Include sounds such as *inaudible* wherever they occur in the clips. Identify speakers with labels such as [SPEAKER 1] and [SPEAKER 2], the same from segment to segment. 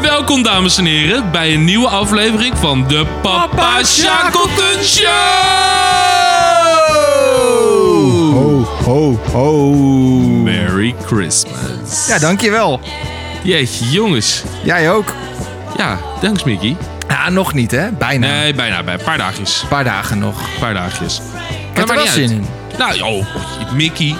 [SPEAKER 1] Welkom, dames en heren, bij een nieuwe aflevering van de Papa Shackleton Show!
[SPEAKER 2] Ho, ho, ho.
[SPEAKER 1] Merry Christmas.
[SPEAKER 2] Ja, dankjewel.
[SPEAKER 1] Jeetje, jongens.
[SPEAKER 2] Jij ook.
[SPEAKER 1] Ja, thanks, Mickey.
[SPEAKER 2] Ja, nog niet hè? Bijna.
[SPEAKER 1] Nee, bijna, bij een paar dagjes.
[SPEAKER 2] Een paar dagen nog.
[SPEAKER 1] Een paar dagjes.
[SPEAKER 2] Ik heb er wel zin in.
[SPEAKER 1] Nou, joh, Mickey,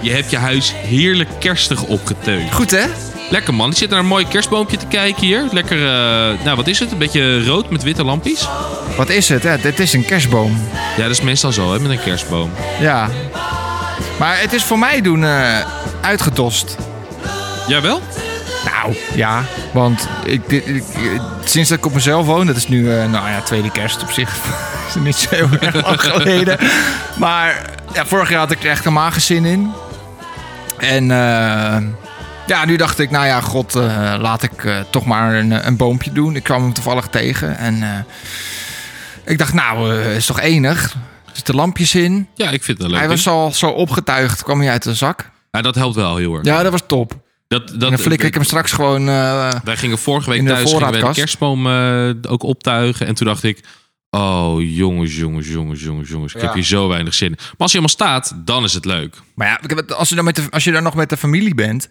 [SPEAKER 1] je hebt je huis heerlijk kerstig opgeteugd.
[SPEAKER 2] Goed hè?
[SPEAKER 1] Lekker man, ik zit naar een mooi kerstboompje te kijken hier. Lekker, eh, nou wat is het? Een beetje rood met witte lampjes?
[SPEAKER 2] Wat is het? hè? dit is een kerstboom.
[SPEAKER 1] Ja, dat is meestal zo hè, met een kerstboom.
[SPEAKER 2] Ja. Maar het is voor mij doen eh, uitgedost.
[SPEAKER 1] Jawel?
[SPEAKER 2] Nou, ja. Want ik, dit- ik- eh, sinds dat ik op mezelf woon, dat is nu, eh, nou ja, tweede kerst op zich. *laughs* is niet zo heel erg *laughs* lang geleden. Maar ja, vorig jaar had ik er echt een zin in. En eh, ja, nu dacht ik, nou ja, god, eh, laat ik eh, toch maar een, een boompje doen. Ik kwam hem toevallig tegen en eh, ik dacht, nou, eh, is toch enig? Er zitten lampjes in.
[SPEAKER 1] Ja, ik vind het wel
[SPEAKER 2] Hij
[SPEAKER 1] leuk.
[SPEAKER 2] was al zo opgetuigd, kwam hij uit de zak.
[SPEAKER 1] Ja, dat helpt wel heel erg.
[SPEAKER 2] Ja, dat was top.
[SPEAKER 1] Dat, dat,
[SPEAKER 2] En dan flikker ik hem straks gewoon... eh,
[SPEAKER 1] Wij gingen vorige week
[SPEAKER 2] in de
[SPEAKER 1] thuis gingen wij de
[SPEAKER 2] voorraadkast.
[SPEAKER 1] kerstboom eh, ook optuigen. En toen dacht ik, oh jongens, jongens, jongens, jongens, jongens. Ik
[SPEAKER 2] Ja.
[SPEAKER 1] heb hier zo weinig zin in. Maar als hij helemaal staat, dan is het leuk.
[SPEAKER 2] Maar ja, ik heb het- als je, dan met de, als je dan nog met de familie bent,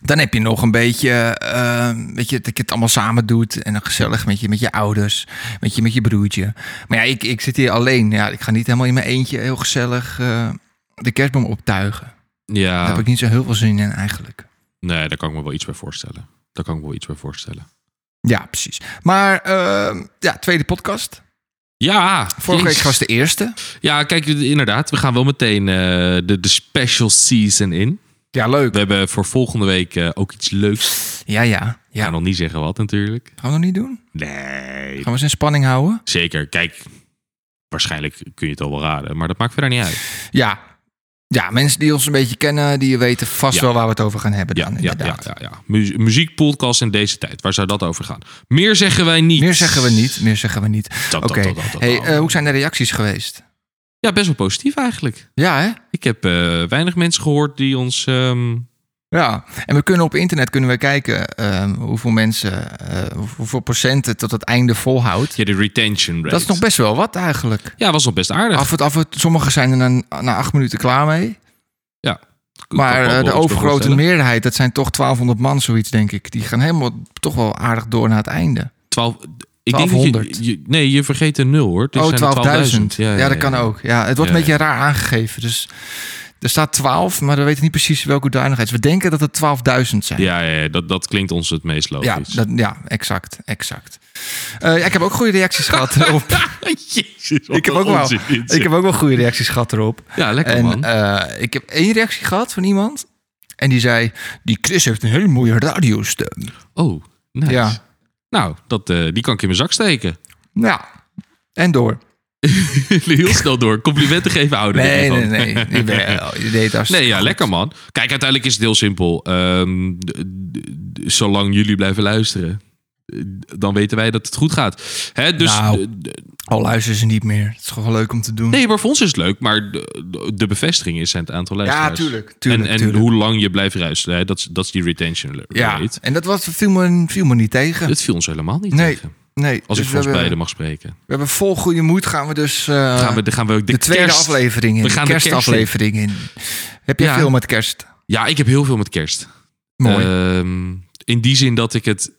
[SPEAKER 2] dan heb je nog een beetje, eh, weet je, dat je het allemaal samen doet. En dan gezellig met je, met je ouders, met je, met je broertje. Maar ja, ik, ik zit hier alleen. Ja, ik ga niet helemaal in mijn eentje heel gezellig eh, de kerstboom optuigen. Daar
[SPEAKER 1] Ja,
[SPEAKER 2] heb ik niet zo heel veel zin in eigenlijk.
[SPEAKER 1] nee, daar kan ik me wel iets bij voorstellen. Daar kan ik me wel iets bij voorstellen.
[SPEAKER 2] Ja, precies. Maar eh, ja, tweede podcast.
[SPEAKER 1] Ja,
[SPEAKER 2] Vorige
[SPEAKER 1] jezus.
[SPEAKER 2] week was de eerste.
[SPEAKER 1] Ja, kijk, inderdaad. We gaan wel meteen eh, de, de special season in.
[SPEAKER 2] Ja,
[SPEAKER 1] We
[SPEAKER 2] leuk.
[SPEAKER 1] hebben voor volgende week eh, ook iets leuks.
[SPEAKER 2] Ja, ja.
[SPEAKER 1] Ik
[SPEAKER 2] ja.
[SPEAKER 1] ga nog niet zeggen wat natuurlijk.
[SPEAKER 2] Gaan we nog niet doen?
[SPEAKER 1] Nee,
[SPEAKER 2] Gaan we eens in spanning houden?
[SPEAKER 1] zeker. Kijk, waarschijnlijk kun je het al wel raden. Maar dat maakt verder niet uit.
[SPEAKER 2] Ja. Ja, mensen die ons een beetje kennen, die weten vast
[SPEAKER 1] Ja.
[SPEAKER 2] wel waar we het over gaan hebben
[SPEAKER 1] Ja,
[SPEAKER 2] dan,
[SPEAKER 1] ja,
[SPEAKER 2] inderdaad.
[SPEAKER 1] ja, ja, ja. Mu- muziekpodcast in deze tijd. Waar zou dat over gaan? Meer zeggen wij niet.
[SPEAKER 2] Meer zeggen we niet, meer zeggen we niet.
[SPEAKER 1] Dat, dat,
[SPEAKER 2] Oké,
[SPEAKER 1] dat, dat, dat,
[SPEAKER 2] hey,
[SPEAKER 1] dat.
[SPEAKER 2] eh, hoe zijn de reacties geweest?
[SPEAKER 1] Ja, best wel positief eigenlijk.
[SPEAKER 2] Ja, hè?
[SPEAKER 1] Ik heb eh, weinig mensen gehoord die ons... ehm,
[SPEAKER 2] Ja, en we kunnen op internet kunnen we kijken ehm, hoeveel mensen, eh, hoe- hoeveel procent het tot het einde volhoudt.
[SPEAKER 1] ja, de retention rate.
[SPEAKER 2] Dat is nog best wel wat eigenlijk.
[SPEAKER 1] Ja, was nog best aardig.
[SPEAKER 2] Af en, af en, sommigen zijn er na, na acht minuten klaar mee.
[SPEAKER 1] Ik kan
[SPEAKER 2] Maar
[SPEAKER 1] me
[SPEAKER 2] eh,
[SPEAKER 1] wel
[SPEAKER 2] de
[SPEAKER 1] iets bij
[SPEAKER 2] overgrote
[SPEAKER 1] voorstellen.
[SPEAKER 2] meerderheid, dat zijn toch 1200 man zoiets, denk ik. Die gaan helemaal toch wel aardig door naar het einde.
[SPEAKER 1] Twaalf, ik denk dat je,
[SPEAKER 2] 1200.
[SPEAKER 1] je- nee, je vergeet een nul hoor. Het
[SPEAKER 2] oh,
[SPEAKER 1] zijn er
[SPEAKER 2] 12.000.
[SPEAKER 1] 12.000.
[SPEAKER 2] Ja, dat kan ook. Ja, het wordt
[SPEAKER 1] Ja,
[SPEAKER 2] een beetje raar aangegeven. Dus er staat 12, maar we weten niet precies welke hoedanigheid. We denken dat het 12.000 zijn.
[SPEAKER 1] Ja, ja, ja, dat, dat klinkt ons het meest
[SPEAKER 2] Ja,
[SPEAKER 1] logisch.
[SPEAKER 2] dat, ja exact. exact. Eh, ja, ik heb ook goede reacties
[SPEAKER 1] *laughs*
[SPEAKER 2] gehad erop.
[SPEAKER 1] Jezus, wat
[SPEAKER 2] ik, heb
[SPEAKER 1] een
[SPEAKER 2] ook wel,
[SPEAKER 1] onzin dit,
[SPEAKER 2] ik heb ook wel goede reacties gehad erop.
[SPEAKER 1] zeg. Ja, lekker
[SPEAKER 2] En
[SPEAKER 1] man.
[SPEAKER 2] eh, ik heb één reactie gehad van iemand. En die zei, die Chris heeft een hele mooie radiostem.
[SPEAKER 1] oh, nice.
[SPEAKER 2] Ja.
[SPEAKER 1] Nou, dat, eh, die kan ik in mijn zak steken. *laughs*
[SPEAKER 2] Nou, en door.
[SPEAKER 1] Heel snel door. Complimenten geven ouderen.
[SPEAKER 2] Nee,
[SPEAKER 1] hiervan.
[SPEAKER 2] nee, nee.
[SPEAKER 1] *laughs*
[SPEAKER 2] Jawel, Je deed als...
[SPEAKER 1] Nee, ja, lekker man. Kijk, uiteindelijk is het heel simpel. Ehm, d- d- d- zolang jullie blijven luisteren, eh, d- dan weten wij dat het goed gaat. Hè, dus,
[SPEAKER 2] Nou.
[SPEAKER 1] d- d-
[SPEAKER 2] Al luisteren ze niet meer. Het is gewoon leuk om te doen.
[SPEAKER 1] nee, maar voor ons is het leuk. Maar de, de- de bevestiging is het aantal luisteraars.
[SPEAKER 2] ja, tuurlijk. tuurlijk,
[SPEAKER 1] en en
[SPEAKER 2] tuurlijk.
[SPEAKER 1] hoe lang je blijft luisteren, hè, dat, is- dat is die retention rate.
[SPEAKER 2] Ja, en dat was, viel, me, viel me niet tegen.
[SPEAKER 1] Het viel ons helemaal niet
[SPEAKER 2] Nee.
[SPEAKER 1] tegen.
[SPEAKER 2] Nee,
[SPEAKER 1] Als
[SPEAKER 2] dus
[SPEAKER 1] ik
[SPEAKER 2] we
[SPEAKER 1] voor ons
[SPEAKER 2] hebben,
[SPEAKER 1] beiden mag spreken.
[SPEAKER 2] We hebben vol goede moed gaan we dus... eh,
[SPEAKER 1] Gaan we, de- gaan we de,
[SPEAKER 2] de, tweede
[SPEAKER 1] kerst-
[SPEAKER 2] aflevering in.
[SPEAKER 1] We gaan de
[SPEAKER 2] de
[SPEAKER 1] kerst in.
[SPEAKER 2] kerstaflevering in. Heb je
[SPEAKER 1] Ja.
[SPEAKER 2] veel met kerst?
[SPEAKER 1] Ja, ik heb heel veel met kerst.
[SPEAKER 2] Mooi.
[SPEAKER 1] Ehm, in die zin dat ik het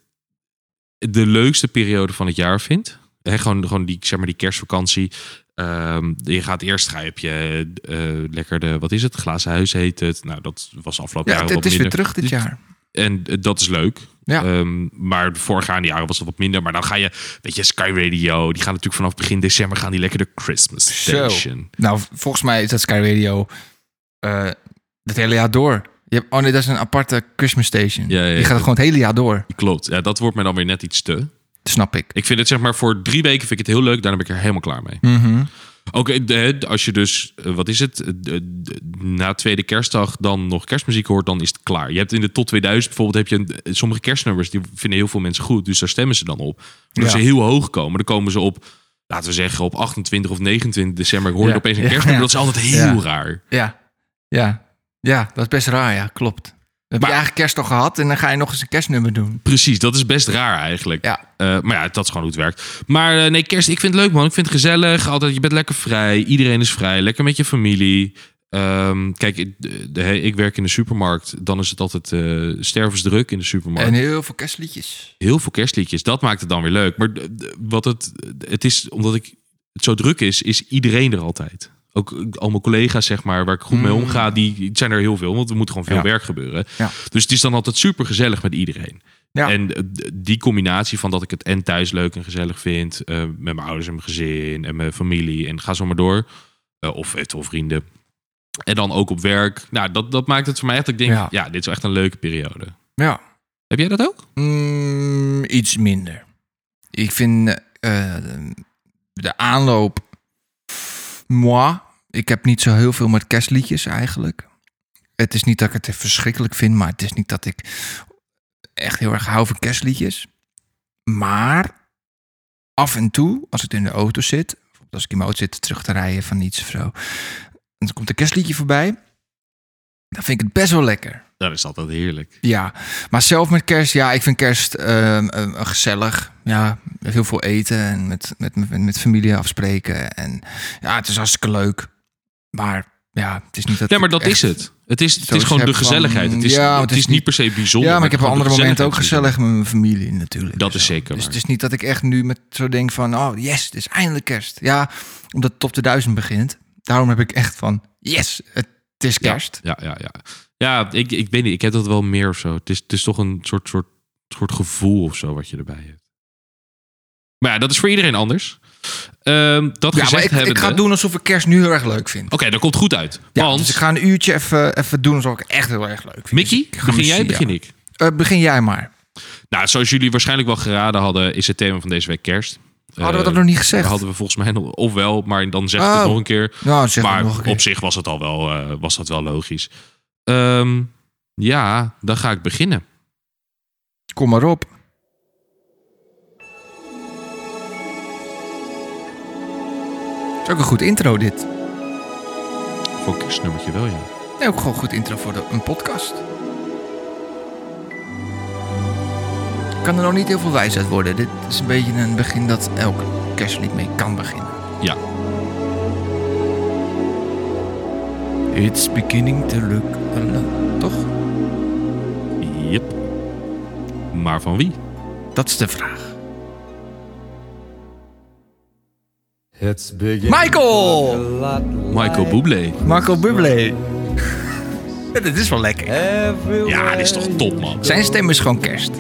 [SPEAKER 1] de leukste periode van het jaar vind. Hè, gewoon gewoon die, zeg maar die kerstvakantie. Ehm, je gaat eerst, ga heb je eh, lekker de, wat is het, glazen huis heet het. Nou, dat was afgelopen
[SPEAKER 2] ja,
[SPEAKER 1] jaar
[SPEAKER 2] het,
[SPEAKER 1] wat
[SPEAKER 2] het is weer
[SPEAKER 1] minder.
[SPEAKER 2] terug dit jaar.
[SPEAKER 1] En eh, dat is leuk.
[SPEAKER 2] Ja.
[SPEAKER 1] Ehm, maar de voorgaande jaren was dat wat minder. Maar dan ga je, weet je, Sky Radio. Die gaan natuurlijk vanaf begin december gaan die lekker de Christmas
[SPEAKER 2] Zo.
[SPEAKER 1] station.
[SPEAKER 2] Nou, volgens mij is dat Sky Radio eh, het hele jaar door. Je hebt, oh nee, dat is een aparte Christmas station.
[SPEAKER 1] Ja, ja,
[SPEAKER 2] Die
[SPEAKER 1] ja.
[SPEAKER 2] gaat gewoon het hele jaar door.
[SPEAKER 1] Klopt. Ja, dat wordt mij dan weer net iets te.
[SPEAKER 2] Dat snap ik.
[SPEAKER 1] Ik vind het zeg maar voor drie weken vind ik het heel leuk. Daarna ben ik er helemaal klaar mee.
[SPEAKER 2] Mhm.
[SPEAKER 1] Ook eh, de- als je dus, eh, wat is het, eh, de- de- na tweede kerstdag dan nog kerstmuziek hoort, dan is het klaar. Je hebt in de tot 2000 bijvoorbeeld, heb je een- eh, sommige kerstnummers, die vinden heel veel mensen goed, dus daar stemmen ze dan op. Maar als
[SPEAKER 2] Ja.
[SPEAKER 1] ze heel hoog komen, dan komen ze op, laten we zeggen, op 28 of 29 december, hoor je
[SPEAKER 2] Ja.
[SPEAKER 1] opeens een
[SPEAKER 2] Ja.
[SPEAKER 1] kerstnummer, dat is altijd heel
[SPEAKER 2] Ja.
[SPEAKER 1] raar.
[SPEAKER 2] Ja, ja. Ja, dat is best raar, ja, klopt. heb
[SPEAKER 1] Maar-
[SPEAKER 2] je eigen kerst al gehad en dan ga je nog eens een kerstnummer doen.
[SPEAKER 1] Precies, dat is best raar eigenlijk.
[SPEAKER 2] Ja.
[SPEAKER 1] Eh, maar ja, dat is gewoon hoe het werkt. Maar eh, nee, kerst, ik vind het leuk man. Ik vind het gezellig. Altijd, je bent lekker vrij. Iedereen is vrij. Lekker met je familie. Ehm, kijk, ik- de- de- ik werk in de supermarkt. Dan is het altijd eh, stervensdruk in de supermarkt.
[SPEAKER 2] En heel veel kerstliedjes.
[SPEAKER 1] Heel veel kerstliedjes. Dat maakt het dan weer leuk. Maar d- d- wat het, het is, omdat ik, het zo druk is, is iedereen er altijd. Ook eh, al mijn collega's, zeg maar, waar ik goed mee omga, die die zijn er heel veel. Want er moet gewoon veel
[SPEAKER 2] Ja.
[SPEAKER 1] werk gebeuren.
[SPEAKER 2] Ja.
[SPEAKER 1] Dus het is dan altijd super gezellig met iedereen.
[SPEAKER 2] Ja.
[SPEAKER 1] En eh, d- die combinatie van dat ik het en thuis leuk en gezellig vind, eh, met mijn ouders en mijn gezin en mijn familie en ga zo maar door. Eh, of eventueel vrienden. En dan ook op werk. Nou, dat, dat maakt het voor mij echt. dat Ik denk, ja.
[SPEAKER 2] Ja.
[SPEAKER 1] dit is wel echt een leuke periode.
[SPEAKER 2] Ja.
[SPEAKER 1] Heb jij dat ook?
[SPEAKER 2] Mm, iets minder. Ik vind eh, eh, de aanloop. Moi. Ik heb niet zo heel veel met kerstliedjes eigenlijk. Het is niet dat ik het verschrikkelijk vind, maar het is niet dat ik echt heel erg hou van kerstliedjes. Maar af en toe, als het in de auto zit, bijvoorbeeld als ik in mijn auto zit terug te rijden van iets of zo, en dan komt een kerstliedje voorbij, dan vind ik het best wel lekker.
[SPEAKER 1] Dat is altijd heerlijk.
[SPEAKER 2] Ja, maar zelf met kerst, ja, ik vind kerst ehm, ehm, gezellig. Ja, met heel veel eten en met, met, met, met familie afspreken. En ja, het is hartstikke leuk. Maar ja, het is niet dat.
[SPEAKER 1] Ja, maar
[SPEAKER 2] ik
[SPEAKER 1] dat
[SPEAKER 2] echt-
[SPEAKER 1] is het. Het is, het
[SPEAKER 2] Zoals
[SPEAKER 1] is gewoon
[SPEAKER 2] je
[SPEAKER 1] de
[SPEAKER 2] hebt
[SPEAKER 1] gezelligheid.
[SPEAKER 2] van-
[SPEAKER 1] Het is,
[SPEAKER 2] ja,
[SPEAKER 1] het is niet per se bijzonder.
[SPEAKER 2] Ja, maar ik heb op
[SPEAKER 1] gewoon
[SPEAKER 2] andere
[SPEAKER 1] de
[SPEAKER 2] momenten ook
[SPEAKER 1] gezelligheid
[SPEAKER 2] gezellig met mijn familie natuurlijk.
[SPEAKER 1] Dat is
[SPEAKER 2] Zo.
[SPEAKER 1] zeker
[SPEAKER 2] Dus
[SPEAKER 1] waar.
[SPEAKER 2] het is niet dat ik echt nu met zo denk van, oh yes, het is eindelijk kerst. Ja, omdat het op de duizend begint. Daarom heb ik echt van, yes, het is
[SPEAKER 1] Ja.
[SPEAKER 2] kerst.
[SPEAKER 1] is. Ja, ja, ja. Ja, ik, ik weet niet. Ik heb dat wel meer of zo. Het is, het is toch een soort, soort, soort gevoel of zo wat je erbij hebt. Maar ja, dat is voor iedereen anders. Ehm, dat
[SPEAKER 2] Ja, maar
[SPEAKER 1] gezegd
[SPEAKER 2] ik,
[SPEAKER 1] hebben.
[SPEAKER 2] ik ga doen alsof ik kerst nu heel erg leuk vind.
[SPEAKER 1] Oké, dat komt goed uit.
[SPEAKER 2] Ja,
[SPEAKER 1] Want,
[SPEAKER 2] dus ik ga een uurtje even, even doen alsof ik het echt heel erg leuk vind. Dus
[SPEAKER 1] Mickey,
[SPEAKER 2] ik ga
[SPEAKER 1] begin
[SPEAKER 2] misschien-
[SPEAKER 1] jij, begin
[SPEAKER 2] ja.
[SPEAKER 1] ik.
[SPEAKER 2] Eh, begin jij maar.
[SPEAKER 1] Nou, zoals jullie waarschijnlijk wel geraden hadden, is het thema van deze week kerst.
[SPEAKER 2] Hadden we dat
[SPEAKER 1] Eh,
[SPEAKER 2] nog niet gezegd?
[SPEAKER 1] Hadden we volgens mij nog, of wel, maar dan zeg ik het
[SPEAKER 2] Oh.
[SPEAKER 1] nog een keer.
[SPEAKER 2] Nou, zeg maar
[SPEAKER 1] maar
[SPEAKER 2] nog een keer.
[SPEAKER 1] op zich was, het al wel, eh, was dat wel logisch. Ehm, ja, dan ga ik beginnen.
[SPEAKER 2] Kom maar op. is ook een goed intro dit.
[SPEAKER 1] Voor een kerstnummertje wel, ja.
[SPEAKER 2] Nee, ook gewoon een goed intro voor de, een podcast. Kan er nog niet heel veel wijs uit worden. Dit is een beetje een begin dat elk kerstlied mee kan beginnen.
[SPEAKER 1] Ja.
[SPEAKER 2] It's beginning to look a lot. Toch?
[SPEAKER 1] Yep. Maar van wie?
[SPEAKER 2] Dat is de vraag.
[SPEAKER 3] It's beginning
[SPEAKER 2] Michael!
[SPEAKER 3] to look a lot
[SPEAKER 1] Michael
[SPEAKER 3] like
[SPEAKER 1] Bublé.
[SPEAKER 2] Marco Bublé. Ja, Dit is wel lekker.
[SPEAKER 3] everywhere
[SPEAKER 1] Ja, dit is toch
[SPEAKER 3] you
[SPEAKER 1] top, man.
[SPEAKER 2] Zijn stem is gewoon kerst.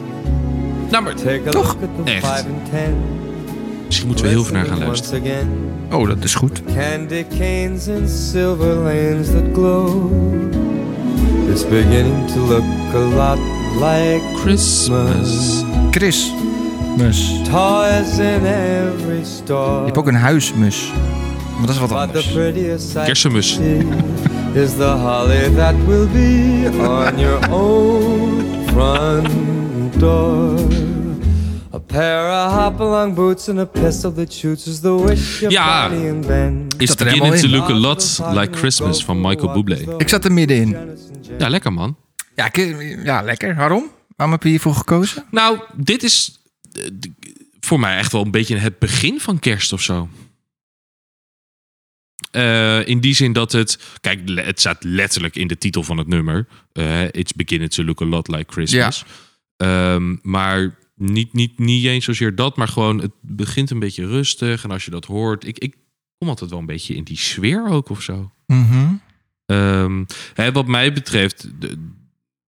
[SPEAKER 1] Nou, maar
[SPEAKER 3] Take a
[SPEAKER 2] Toch?
[SPEAKER 3] look at the
[SPEAKER 1] Echt.
[SPEAKER 3] five and ten.
[SPEAKER 1] misschien moeten we heel veel naar gaan
[SPEAKER 3] Listening
[SPEAKER 1] luisteren.
[SPEAKER 3] once again.
[SPEAKER 2] Oh, dat is goed.
[SPEAKER 3] Candy canes and silver lanes that glow. It's beginning to look a lot like
[SPEAKER 1] Christmas.
[SPEAKER 2] Chris. Mus. Je
[SPEAKER 3] toys in every store.
[SPEAKER 2] hebt ook een huismus. Maar dat is wat
[SPEAKER 3] But the
[SPEAKER 2] anders.
[SPEAKER 3] prettiest sight
[SPEAKER 1] Kerstmis.
[SPEAKER 3] to see is the holly that will be on your own front door. A pair of hop-along boots and a pistol that shoots is the wish of
[SPEAKER 1] Ja.
[SPEAKER 3] Bonnie and Ben.
[SPEAKER 1] It's
[SPEAKER 2] er helemaal
[SPEAKER 1] beginning to
[SPEAKER 2] in.
[SPEAKER 1] look a lot like Christmas van Michael Bublé.
[SPEAKER 2] Ik zat er middenin.
[SPEAKER 3] Ja,
[SPEAKER 1] Ja, lekker man.
[SPEAKER 2] Ja, ki- ja lekker. Waarom? Waarom heb je hiervoor gekozen?
[SPEAKER 1] Nou, dit is eh, d- voor mij echt wel een beetje het begin van kerst of zo. Eh, in die zin dat het. Kijk, le- het staat letterlijk in de titel van het nummer. Eh, It's beginning to look a lot like Christmas. Ehm, maar niet, niet, niet eens zozeer dat, maar gewoon het begint een beetje rustig. En als je dat hoort, ik, ik kom altijd wel een beetje in die sfeer ook of zo.
[SPEAKER 2] Mhm.
[SPEAKER 1] Ehm, hè, wat mij betreft. de-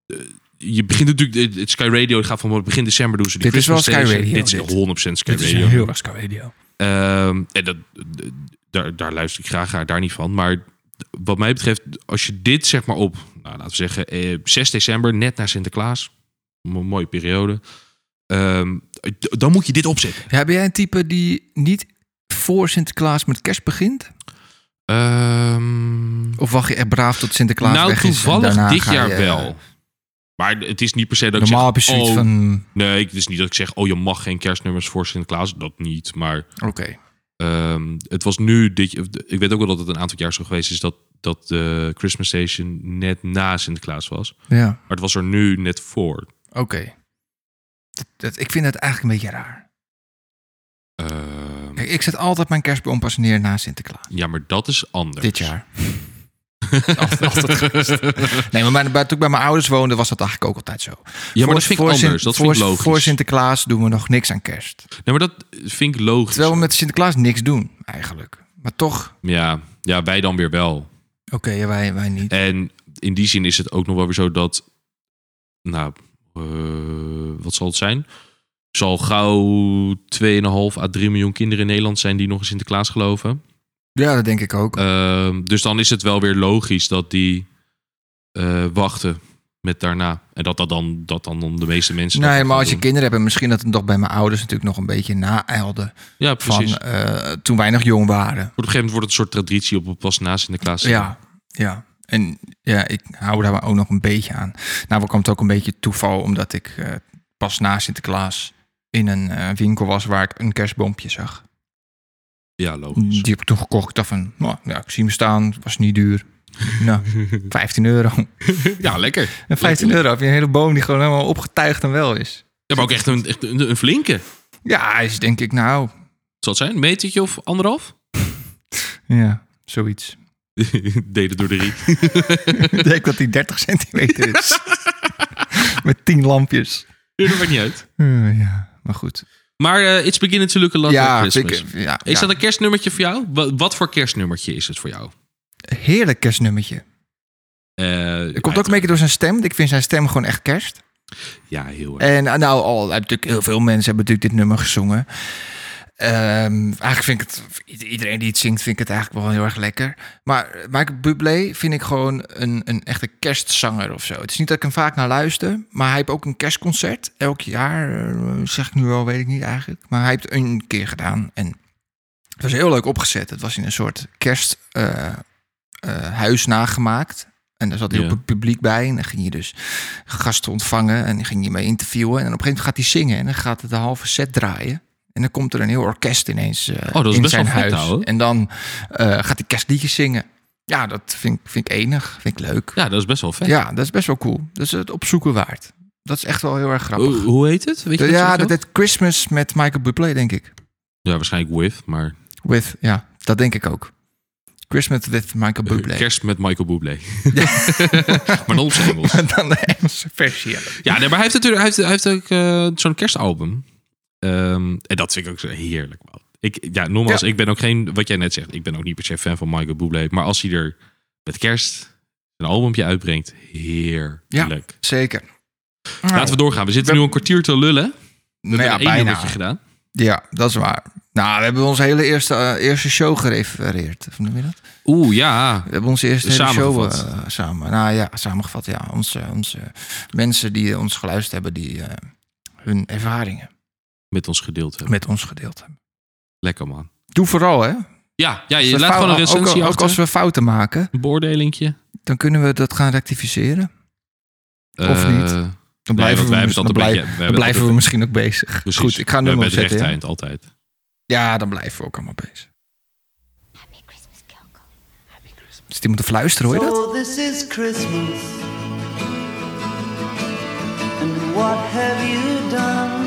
[SPEAKER 1] de- je begint natuurlijk. het- Het Sky Radio gaat van begin december doen ze die
[SPEAKER 2] Dit is wel
[SPEAKER 1] Christmas
[SPEAKER 2] Sky
[SPEAKER 1] station.
[SPEAKER 2] Radio,
[SPEAKER 1] Dit is
[SPEAKER 2] dit.
[SPEAKER 1] 100% Sky
[SPEAKER 2] Dit is
[SPEAKER 1] Radio.
[SPEAKER 2] heel erg ska radio.
[SPEAKER 1] Ehm, en dat, d- daar, daar luister ik graag naar, daar niet van. Maar d- wat mij betreft, als je dit zeg maar op, nou, laten we zeggen, eh, 6 december, net na Sinterklaas. mo- mooie periode. ehm, d- dan moet je dit opzetten.
[SPEAKER 2] Ja, ben jij een type die niet voor Sinterklaas met kerst begint?
[SPEAKER 1] Ehm,
[SPEAKER 2] Of wacht je echt braaf tot Sinterklaas
[SPEAKER 1] nou,
[SPEAKER 2] weg is en
[SPEAKER 1] toevallig
[SPEAKER 2] daarna
[SPEAKER 1] dit
[SPEAKER 2] ga
[SPEAKER 1] jaar
[SPEAKER 2] je- eh,
[SPEAKER 1] wel. Maar het is niet per se dat
[SPEAKER 2] Normaal
[SPEAKER 1] ik
[SPEAKER 2] heb je
[SPEAKER 1] zeg...
[SPEAKER 2] zoiets
[SPEAKER 1] oh,
[SPEAKER 2] van...
[SPEAKER 1] Nee, ik- het is niet dat ik zeg, oh, je mag geen kerstnummers voor Sinterklaas. Dat niet. Maar
[SPEAKER 2] Oké.
[SPEAKER 1] ehm, het was nu, dit, ik weet ook wel dat het een aantal jaar zo geweest is, dat dat de Christmas Station net na Sinterklaas was.
[SPEAKER 2] Ja.
[SPEAKER 1] Maar het was er nu net voor.
[SPEAKER 2] Oké. Dat- dat- Ik vind dat eigenlijk een beetje raar.
[SPEAKER 1] Ehm,
[SPEAKER 2] Kijk, ik zet altijd mijn kerstboom pas neer na Sinterklaas.
[SPEAKER 1] ja, maar dat is anders.
[SPEAKER 2] Dit
[SPEAKER 1] *laughs*
[SPEAKER 2] jaar. Altijd- altijd geweest. *laughs* nee, maar mijn- bij- toen ik bij mijn ouders woonde was dat eigenlijk ook altijd zo.
[SPEAKER 1] Ja, maar
[SPEAKER 2] Voor
[SPEAKER 1] dat
[SPEAKER 2] de-
[SPEAKER 1] vind ik
[SPEAKER 2] voor Sin-
[SPEAKER 1] anders. Dat
[SPEAKER 2] voor,
[SPEAKER 1] vind ik logisch.
[SPEAKER 2] Voor Sinterklaas doen we nog niks aan kerst.
[SPEAKER 1] Nee, maar dat vind ik logisch.
[SPEAKER 2] Terwijl we met Sinterklaas niks doen, eigenlijk. Maar toch,
[SPEAKER 1] Ja, ja, wij dan weer wel.
[SPEAKER 2] oké, ja, wij, wij niet.
[SPEAKER 1] En in die zin is het ook nog wel weer zo dat... Nou, eh, wat zal het zijn? Zal gauw 2,5 à 3 miljoen kinderen in Nederland zijn die nog in Sinterklaas geloven.
[SPEAKER 2] Ja, dat denk ik ook.
[SPEAKER 1] Ehm, dus dan is het wel weer logisch dat die eh, wachten met daarna. En dat, dat, dan, dat dan de meeste mensen. dat
[SPEAKER 2] nee,
[SPEAKER 1] gaan
[SPEAKER 2] maar als je
[SPEAKER 1] doen.
[SPEAKER 2] kinderen hebt, en misschien dat het nog bij mijn ouders natuurlijk nog een beetje naeilde.
[SPEAKER 1] Ja,
[SPEAKER 2] Van
[SPEAKER 1] precies. Op
[SPEAKER 2] eh, toen wij nog jong waren.
[SPEAKER 1] een gegeven moment wordt het een soort traditie op pas na Sinterklaas.
[SPEAKER 2] Ja, ja. En ja, ik hou daar ook nog een beetje aan. Nou, kwam het ook een beetje toeval, omdat ik eh, pas na Sinterklaas in een eh, winkel was waar ik een kerstboompje zag.
[SPEAKER 1] Ja, logisch.
[SPEAKER 2] Die heb ik toen gekocht. Ik dacht van, nou, ja, ik zie hem staan, was niet
[SPEAKER 1] *laughs*
[SPEAKER 2] duur. Nou, 15 euro.
[SPEAKER 1] ja, lekker.
[SPEAKER 2] En 15 euro heb je een hele boom die gewoon helemaal opgetuigd en wel is.
[SPEAKER 1] Ja, maar ook echt een, echt een, een flinke.
[SPEAKER 2] Ja, is denk ik nou,
[SPEAKER 1] Zal het zijn? Een metertje of anderhalf? *laughs*
[SPEAKER 2] ja, zoiets.
[SPEAKER 1] Deden door de rie.
[SPEAKER 2] ik denk dat die 30 centimeter is.
[SPEAKER 1] *laughs*
[SPEAKER 2] Met 10 lampjes.
[SPEAKER 1] Nee, dat maakt niet uit.
[SPEAKER 2] Eh, ja, maar goed.
[SPEAKER 1] Maar eh, It's Beginning to Look a Lot
[SPEAKER 2] ja,
[SPEAKER 1] like Christmas.
[SPEAKER 2] ik- ja,
[SPEAKER 1] is
[SPEAKER 2] ja.
[SPEAKER 1] dat een kerstnummertje voor jou? Wa- Wat voor kerstnummertje is het voor jou?
[SPEAKER 2] heerlijk kerstnummertje.
[SPEAKER 1] Eh,
[SPEAKER 2] Het komt ook een beetje door zijn stem. Ik vind zijn stem gewoon echt kerst.
[SPEAKER 1] Ja, heel erg.
[SPEAKER 2] En eh, nou, al, natuurlijk heel veel mensen hebben natuurlijk dit nummer gezongen. Ehm, eigenlijk vind ik het, ied- iedereen die het zingt, vind ik het eigenlijk wel heel erg lekker. Maar Michael Bublé vind ik gewoon een, een echte kerstzanger of zo. Het is niet dat ik hem vaak naar luister, maar hij heeft ook een kerstconcert. Elk jaar, eh, zeg ik nu wel, weet ik niet eigenlijk. Maar hij heeft het een keer gedaan en het was heel leuk opgezet. Het was in een soort kersthuis nagemaakt. En daar zat heel
[SPEAKER 1] Ja.
[SPEAKER 2] veel publiek bij. En dan ging je dus gasten ontvangen. En dan ging je mee interviewen. En op een gegeven moment gaat hij zingen. En dan gaat het de halve set draaien. En dan komt er een heel orkest ineens eh,
[SPEAKER 1] Oh, dat is
[SPEAKER 2] in
[SPEAKER 1] best
[SPEAKER 2] zijn
[SPEAKER 1] wel vet,
[SPEAKER 2] huis.
[SPEAKER 1] ouwe.
[SPEAKER 2] en dan eh, gaat hij kerstliedjes zingen. Ja, dat vind, ik- vind ik enig. Vind ik leuk.
[SPEAKER 1] Ja, dat is best wel vet.
[SPEAKER 2] Ja, dat is best wel cool. Dat is het opzoeken waard. Dat is echt wel heel erg grappig.
[SPEAKER 1] Hoe, hoe heet het? Weet je dat
[SPEAKER 2] ja,
[SPEAKER 1] sowieso?
[SPEAKER 2] dat heet Christmas met Michael Bublé, denk ik.
[SPEAKER 1] Ja, waarschijnlijk with, maar
[SPEAKER 2] With, ja, dat denk ik ook. Christmas with
[SPEAKER 1] *laughs*
[SPEAKER 2] Michael Bublé.
[SPEAKER 1] kerst met Michael Bublé. maar dan op zijn
[SPEAKER 2] *laughs*
[SPEAKER 1] Engels.
[SPEAKER 2] En dan de Engelse versie. ja.
[SPEAKER 1] Ja, nee, maar hij heeft natuurlijk hij heeft, hij heeft ook eh, zo'n kerstalbum. Ehm, en dat vind ik ook zo heerlijk, man. Ik, ja, nogmaals,
[SPEAKER 2] Ja.
[SPEAKER 1] ik ben ook geen, wat jij net zegt, ik ben ook niet per se fan van Michael Bublé. Maar als hij er met kerst een albumpje uitbrengt, heerlijk.
[SPEAKER 2] Ja. Zeker.
[SPEAKER 1] Laten we doorgaan. We zitten
[SPEAKER 2] we-
[SPEAKER 1] nu een kwartier te lullen. We
[SPEAKER 2] Ah. nou ja,
[SPEAKER 1] hebben één
[SPEAKER 2] bijna.
[SPEAKER 1] nummertje gedaan.
[SPEAKER 2] Ja, dat is waar. Nou, we hebben onze hele eerste, eh, eerste show gerefereerd. Of hoe noem je dat?
[SPEAKER 1] Oeh, ja.
[SPEAKER 2] We hebben onze eerste hele show eh,
[SPEAKER 1] Samengevat.
[SPEAKER 2] samen. Nou ja, samengevat. Ja, onze, onze mensen die ons geluisterd hebben, die eh, hun ervaringen
[SPEAKER 1] Met ons gedeeld hebben.
[SPEAKER 2] met ons gedeeld hebben.
[SPEAKER 1] Lekker, man.
[SPEAKER 2] Doe vooral, hè?
[SPEAKER 1] Ja, ja
[SPEAKER 2] Als
[SPEAKER 1] je laat
[SPEAKER 2] we fouten-
[SPEAKER 1] gewoon een recensie
[SPEAKER 2] ook, ook
[SPEAKER 1] achter.
[SPEAKER 2] als we fouten maken,
[SPEAKER 1] Een beoordelingje.
[SPEAKER 2] dan kunnen we dat gaan rectificeren. Of
[SPEAKER 1] Eh,
[SPEAKER 2] niet. Dan
[SPEAKER 1] Nee, want wij
[SPEAKER 2] blijven we, dus-
[SPEAKER 1] hebben het
[SPEAKER 2] dan
[SPEAKER 1] altijd
[SPEAKER 2] blij-
[SPEAKER 1] een beetje- we
[SPEAKER 2] dan
[SPEAKER 1] hebben
[SPEAKER 2] blijven we
[SPEAKER 1] altijd-
[SPEAKER 2] misschien ook bezig.
[SPEAKER 1] Precies.
[SPEAKER 2] Goed, ik ga
[SPEAKER 1] We
[SPEAKER 2] een nummer
[SPEAKER 1] hebben het
[SPEAKER 2] opzetten.
[SPEAKER 1] rechte
[SPEAKER 2] Ja.
[SPEAKER 1] eind altijd.
[SPEAKER 2] Ja, dan blijven we ook allemaal bezig. Dus die moeten fluisteren, hoor je dat?
[SPEAKER 4] So this is Christmas. And what have you done?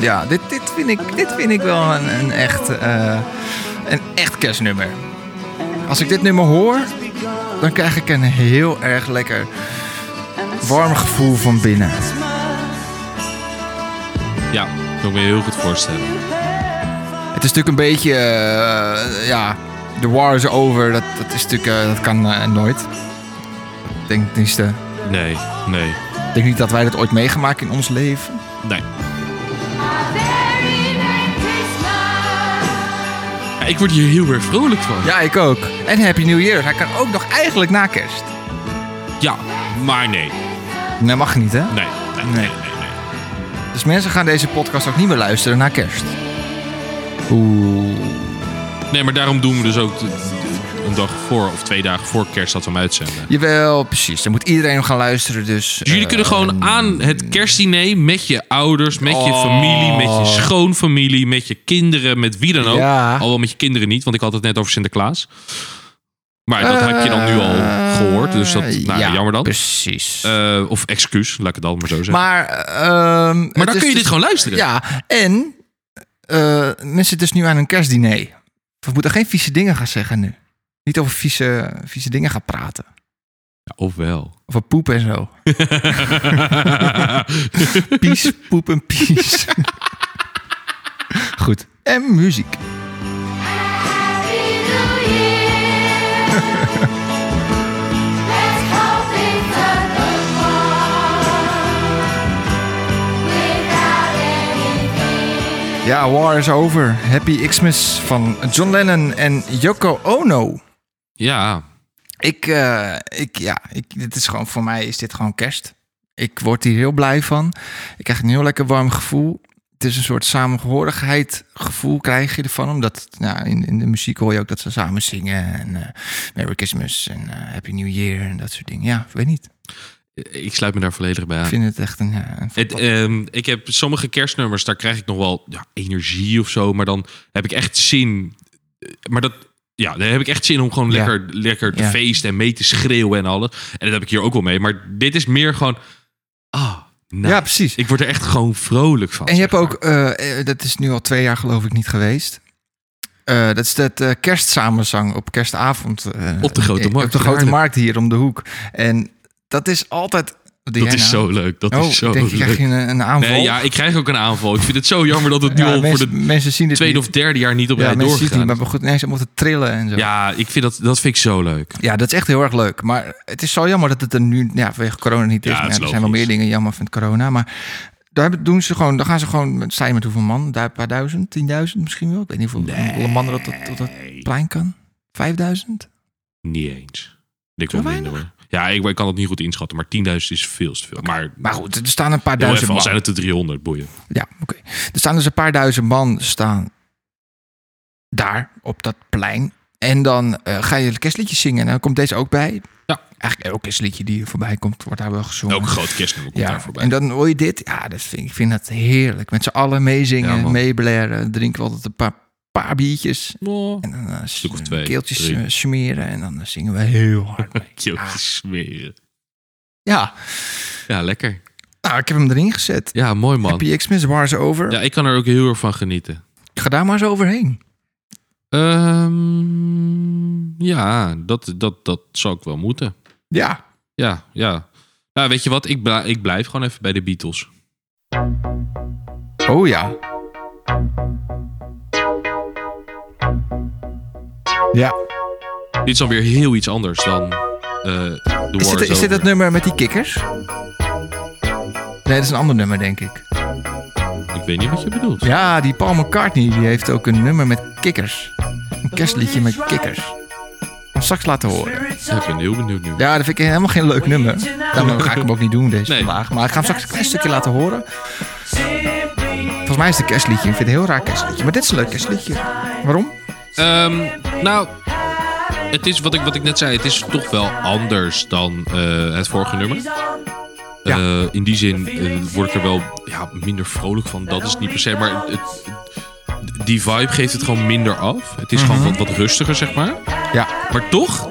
[SPEAKER 2] Ja, dit, dit, vind, ik, dit vind ik wel een, een, echt, eh, een echt kerstnummer. Als ik dit nummer hoor, dan krijg ik een heel erg lekker warm gevoel van binnen.
[SPEAKER 1] Ja, dat kan ik me heel goed voorstellen.
[SPEAKER 2] Het is natuurlijk een beetje, eh, ja, the war is over. Dat, dat, is natuurlijk, eh, dat kan eh, nooit. Ik denk, tenminste,
[SPEAKER 1] Nee, nee,
[SPEAKER 2] ik denk niet dat wij dat ooit meegemaakt in ons leven.
[SPEAKER 1] nee. Ja, ik word hier heel erg vrolijk van.
[SPEAKER 2] Ja, ik ook. En Happy New Year. Hij kan ook nog eigenlijk na kerst.
[SPEAKER 1] Ja, maar nee.
[SPEAKER 2] Nee, mag niet, hè?
[SPEAKER 1] Nee, nee, nee, nee. nee.
[SPEAKER 2] Dus mensen gaan deze podcast ook niet meer luisteren na kerst. Oeh.
[SPEAKER 1] Nee, maar daarom doen we dus ook een dag voor of twee dagen voor kerst dat we hem uitzenden.
[SPEAKER 2] Jawel, precies. Dan moet iedereen nog gaan luisteren, dus...
[SPEAKER 1] Dus jullie kunnen gewoon aan het kerstdiner met je ouders, met je
[SPEAKER 2] Oh.
[SPEAKER 1] familie, met je schoonfamilie, met je kinderen, met wie dan ook.
[SPEAKER 2] Ja.
[SPEAKER 1] Al wel met je kinderen niet, want ik had het net over Sinterklaas. Maar dat heb je dan nu al gehoord, dus dat, nou, ja,
[SPEAKER 2] eh, ja,
[SPEAKER 1] jammer dan.
[SPEAKER 2] Precies.
[SPEAKER 1] Eh, of excuus, laat ik het dan maar zo zeggen. Maar,
[SPEAKER 2] maar ehm, het
[SPEAKER 1] dan
[SPEAKER 2] is
[SPEAKER 1] kun je
[SPEAKER 2] dus-
[SPEAKER 1] dit gewoon luisteren.
[SPEAKER 2] Ja, en eh, mensen dus nu aan een kerstdiner. We moeten geen vieze dingen gaan zeggen nu. Niet over vieze, vieze dingen gaan praten.
[SPEAKER 1] Ofwel.
[SPEAKER 2] Over poep en zo. Pies, poep en pies. *laughs* Goed. En muziek.
[SPEAKER 5] Happy New Year. Let's hope it's a good one without any fear.
[SPEAKER 2] Ja, War is Over. Happy Xmas van John Lennon en Yoko Ono.
[SPEAKER 1] Ja,
[SPEAKER 2] Ik, eh, ik, ja, ik, dit is gewoon, voor mij is dit gewoon kerst. Ik word hier heel blij van. Ik krijg een heel lekker warm gevoel. Het is een soort samenhorigheid gevoel krijg je ervan. Omdat nou, in, in de muziek hoor je ook dat ze samen zingen. En eh, Merry Christmas en eh, Happy New Year en dat soort dingen. Ja, ik weet niet.
[SPEAKER 1] ik sluit me daar volledig bij
[SPEAKER 2] Ik
[SPEAKER 1] aan.
[SPEAKER 2] vind het echt een... Ja, een
[SPEAKER 1] Het, ehm, ik heb sommige kerstnummers, daar krijg ik nog wel ja, energie of zo. Maar dan heb ik echt zin. eh, Maar dat, ja, dan heb ik echt zin om gewoon
[SPEAKER 2] Ja.
[SPEAKER 1] lekker, lekker te
[SPEAKER 2] Ja.
[SPEAKER 1] feesten en mee te schreeuwen en alles. En dat heb ik hier ook wel mee. Maar dit is meer gewoon. Ah, nou,
[SPEAKER 2] ja, precies.
[SPEAKER 1] Ik word er echt gewoon vrolijk van.
[SPEAKER 2] En je hebt
[SPEAKER 1] zeg
[SPEAKER 2] ook, eh, eh, dat is nu al twee jaar geloof ik niet geweest. Eh, dat is dat eh, kerstsamenzang op kerstavond. eh,
[SPEAKER 1] Op de Grote
[SPEAKER 2] eh,
[SPEAKER 1] Markt
[SPEAKER 2] Op de
[SPEAKER 1] in
[SPEAKER 2] grote
[SPEAKER 1] Haarlem.
[SPEAKER 2] markt hier om de hoek. En dat is altijd.
[SPEAKER 1] maar. Dat is zo leuk. Dat
[SPEAKER 2] Oh,
[SPEAKER 1] is zo
[SPEAKER 2] denk je, krijg
[SPEAKER 1] leuk.
[SPEAKER 2] je een, een aanval?
[SPEAKER 1] Nee, ja, ik krijg ook een aanval. Ik vind het
[SPEAKER 2] *laughs*
[SPEAKER 1] zo jammer dat het nu
[SPEAKER 2] Ja,
[SPEAKER 1] al
[SPEAKER 2] mensen,
[SPEAKER 1] voor het
[SPEAKER 2] mensen zien dit
[SPEAKER 1] tweede
[SPEAKER 2] niet.
[SPEAKER 1] of derde jaar niet op
[SPEAKER 2] ja,
[SPEAKER 1] rij
[SPEAKER 2] mensen zien het niet,
[SPEAKER 1] doorgegaan.
[SPEAKER 2] maar goed, nee, ze moeten trillen en zo.
[SPEAKER 1] Ja, ik vind dat, dat vind ik zo leuk.
[SPEAKER 2] Ja, dat is echt heel erg leuk. Maar het is zo jammer dat het er nu ja, vanwege corona niet
[SPEAKER 1] Ja,
[SPEAKER 2] is.
[SPEAKER 1] dat
[SPEAKER 2] Maar
[SPEAKER 1] is
[SPEAKER 2] er zijn wel
[SPEAKER 1] logisch.
[SPEAKER 2] meer dingen jammer van het corona. Maar daar hebben- doen ze gewoon, dan gaan ze gewoon, met- sta je met hoeveel man? Daar een paar duizend, tienduizend misschien wel. Ik weet niet hoeveel hoeveel man er op dat, op dat plein kan. Vijfduizend?
[SPEAKER 1] Niet eens. Ik wil
[SPEAKER 2] Zo
[SPEAKER 1] minder hoor. Ja, ik, ik kan het niet goed inschatten, maar 10.000 is veel te veel. Maar,
[SPEAKER 2] Maar goed, er staan een paar
[SPEAKER 1] heel
[SPEAKER 2] duizend
[SPEAKER 1] even, al
[SPEAKER 2] man.
[SPEAKER 1] zijn het de 300, boeien.
[SPEAKER 2] Ja, oké. Er staan dus een paar duizend man staan daar op dat plein. En dan eh, ga je kerstliedjes zingen. En dan komt deze ook bij.
[SPEAKER 1] Ja.
[SPEAKER 2] Eigenlijk elk kerstliedje die er voorbij komt, wordt daar wel gezongen.
[SPEAKER 1] Elk groot kerstnummer komt daar
[SPEAKER 2] Oh. Ja,
[SPEAKER 1] voorbij.
[SPEAKER 2] en dan hoor je dit. Ja, dat vind, ik vind dat heerlijk. Met z'n allen meezingen,
[SPEAKER 1] Ja, man.
[SPEAKER 2] meeblaren. Drinken we altijd een paar, paar biertjes.
[SPEAKER 1] Oh,
[SPEAKER 2] En dan eh,
[SPEAKER 1] Stuk of twee,
[SPEAKER 2] keeltjes
[SPEAKER 1] drie.
[SPEAKER 2] eh, smeren. En dan eh, zingen we heel hard
[SPEAKER 1] *laughs*
[SPEAKER 2] mee.
[SPEAKER 1] *laughs* joh, smeren.
[SPEAKER 2] ja,
[SPEAKER 1] Ja, lekker.
[SPEAKER 2] nou, ik heb hem erin gezet.
[SPEAKER 1] Ja, mooi man.
[SPEAKER 2] Happy Xmas, waar is over?
[SPEAKER 1] Ja, ik kan er ook heel erg van genieten.
[SPEAKER 2] Ga daar maar eens overheen.
[SPEAKER 1] Ehm, ja, dat, dat, dat zou ik wel moeten.
[SPEAKER 2] Ja,
[SPEAKER 1] Ja, ja. Nou, weet je wat? Ik, bla- ik blijf gewoon even bij de Beatles.
[SPEAKER 2] oh ja. Ja.
[SPEAKER 1] Dit is dan weer heel iets anders dan eh The
[SPEAKER 2] Is
[SPEAKER 1] War
[SPEAKER 2] dit,
[SPEAKER 1] Is
[SPEAKER 2] is dit dat
[SPEAKER 1] Over.
[SPEAKER 2] nummer met die kikkers? Nee, dat is een ander nummer, denk ik.
[SPEAKER 1] Ik weet niet wat je bedoelt.
[SPEAKER 2] Ja, die Paul McCartney die heeft ook een nummer met kikkers. Een kerstliedje met kikkers. Ga hem straks laten horen.
[SPEAKER 1] Ja, ik ben heel benieuwd nu.
[SPEAKER 2] Ja, dat vind ik helemaal geen leuk nummer. Daarom ga ik hem ook niet doen deze
[SPEAKER 1] Nee.
[SPEAKER 2] vandaag. Maar ik ga hem straks een klein stukje laten horen. Volgens mij is het een kerstliedje. Ik vind het een heel raar kerstliedje. Maar dit is een leuk kerstliedje. Waarom?
[SPEAKER 1] Ehm, nou, het is wat ik, wat ik net zei. Het is toch wel anders dan eh, het vorige nummer.
[SPEAKER 2] Ja.
[SPEAKER 1] Eh, in die zin eh, word ik er wel ja, minder vrolijk van. Dat is het niet per se. Maar het, het- die vibe geeft het gewoon minder af. Het is gewoon wat, wat rustiger, zeg maar.
[SPEAKER 2] Ja.
[SPEAKER 1] Maar toch.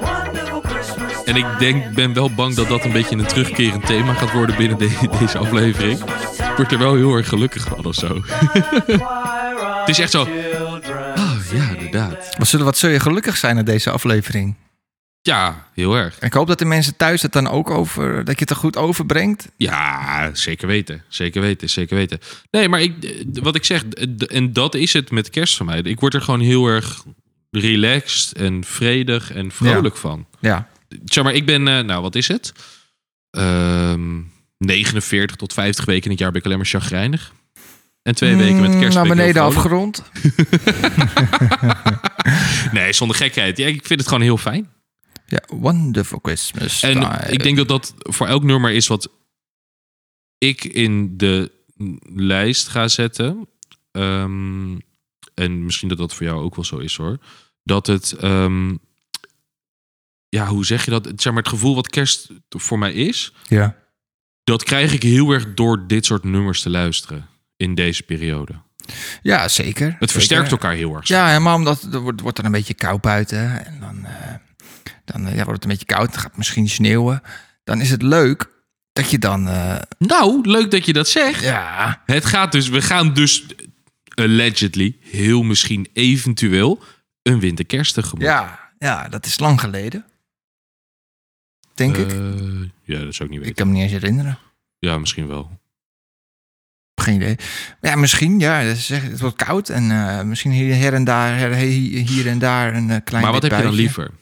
[SPEAKER 1] En ik denk, ben wel bang dat dat een beetje een terugkerend thema gaat worden binnen de- *laughs* deze aflevering. Ik word er wel heel erg gelukkig van of zo. *laughs* het is echt zo. Oh ja, inderdaad.
[SPEAKER 2] Wat, zullen, wat zul je gelukkig zijn na deze aflevering?
[SPEAKER 1] Ja, heel erg.
[SPEAKER 2] Ik hoop dat de mensen thuis het dan ook over... dat je het er goed overbrengt.
[SPEAKER 1] Ja, zeker weten. Zeker weten, zeker weten. Nee, maar ik, d- wat ik zeg, d- d- en dat is het met kerst van mij. Ik word er gewoon heel erg relaxed en vredig en vrolijk van.
[SPEAKER 2] Ja.
[SPEAKER 1] Zeg maar, ik ben, eh, nou wat is het? Ehm, 49 tot 50 weken in het jaar ben ik alleen maar chagrijnig. En twee weken met
[SPEAKER 2] Mm,
[SPEAKER 1] kerst ben
[SPEAKER 2] Naar
[SPEAKER 1] ik heel
[SPEAKER 2] beneden
[SPEAKER 1] vrolijk.
[SPEAKER 2] afgerond.
[SPEAKER 1] Nee, zonder gekheid. Ja, ik vind het gewoon heel fijn.
[SPEAKER 2] Ja, Wonderful Christmas
[SPEAKER 1] En
[SPEAKER 2] time.
[SPEAKER 1] ik denk dat dat voor elk nummer is wat ik in de lijst ga zetten. Ehm, en misschien dat dat voor jou ook wel zo is hoor. Dat het, ehm, ja, hoe zeg je dat? Het, Zeg maar, het gevoel wat kerst voor mij is,
[SPEAKER 2] Ja.
[SPEAKER 1] dat krijg ik heel erg door dit soort nummers te luisteren in deze periode.
[SPEAKER 2] Ja, zeker.
[SPEAKER 1] Het
[SPEAKER 2] Zeker.
[SPEAKER 1] versterkt elkaar heel erg.
[SPEAKER 2] Ja, helemaal omdat er wordt, wordt er een beetje kou buiten. En dan, eh, Dan eh, ja, wordt het een beetje koud, dan gaat het misschien sneeuwen. Dan is het leuk dat je dan... eh,
[SPEAKER 1] Nou, leuk dat je dat zegt.
[SPEAKER 2] ja,
[SPEAKER 1] Het gaat dus, we gaan dus allegedly, heel misschien eventueel, een winterkerst tegemoet.
[SPEAKER 2] ja, ja, dat is lang geleden. Denk ik.
[SPEAKER 1] Eh, ja, dat zou ik niet
[SPEAKER 2] Ik
[SPEAKER 1] weten.
[SPEAKER 2] kan me niet eens herinneren.
[SPEAKER 1] Ja, misschien wel.
[SPEAKER 2] Geen idee. Maar ja, misschien. Ja, ze zeggen, het wordt koud. En eh, misschien hier her en daar, her- he- hier en daar een eh, klein
[SPEAKER 1] maar wat
[SPEAKER 2] wit
[SPEAKER 1] heb je dan
[SPEAKER 2] buitje.
[SPEAKER 1] liever?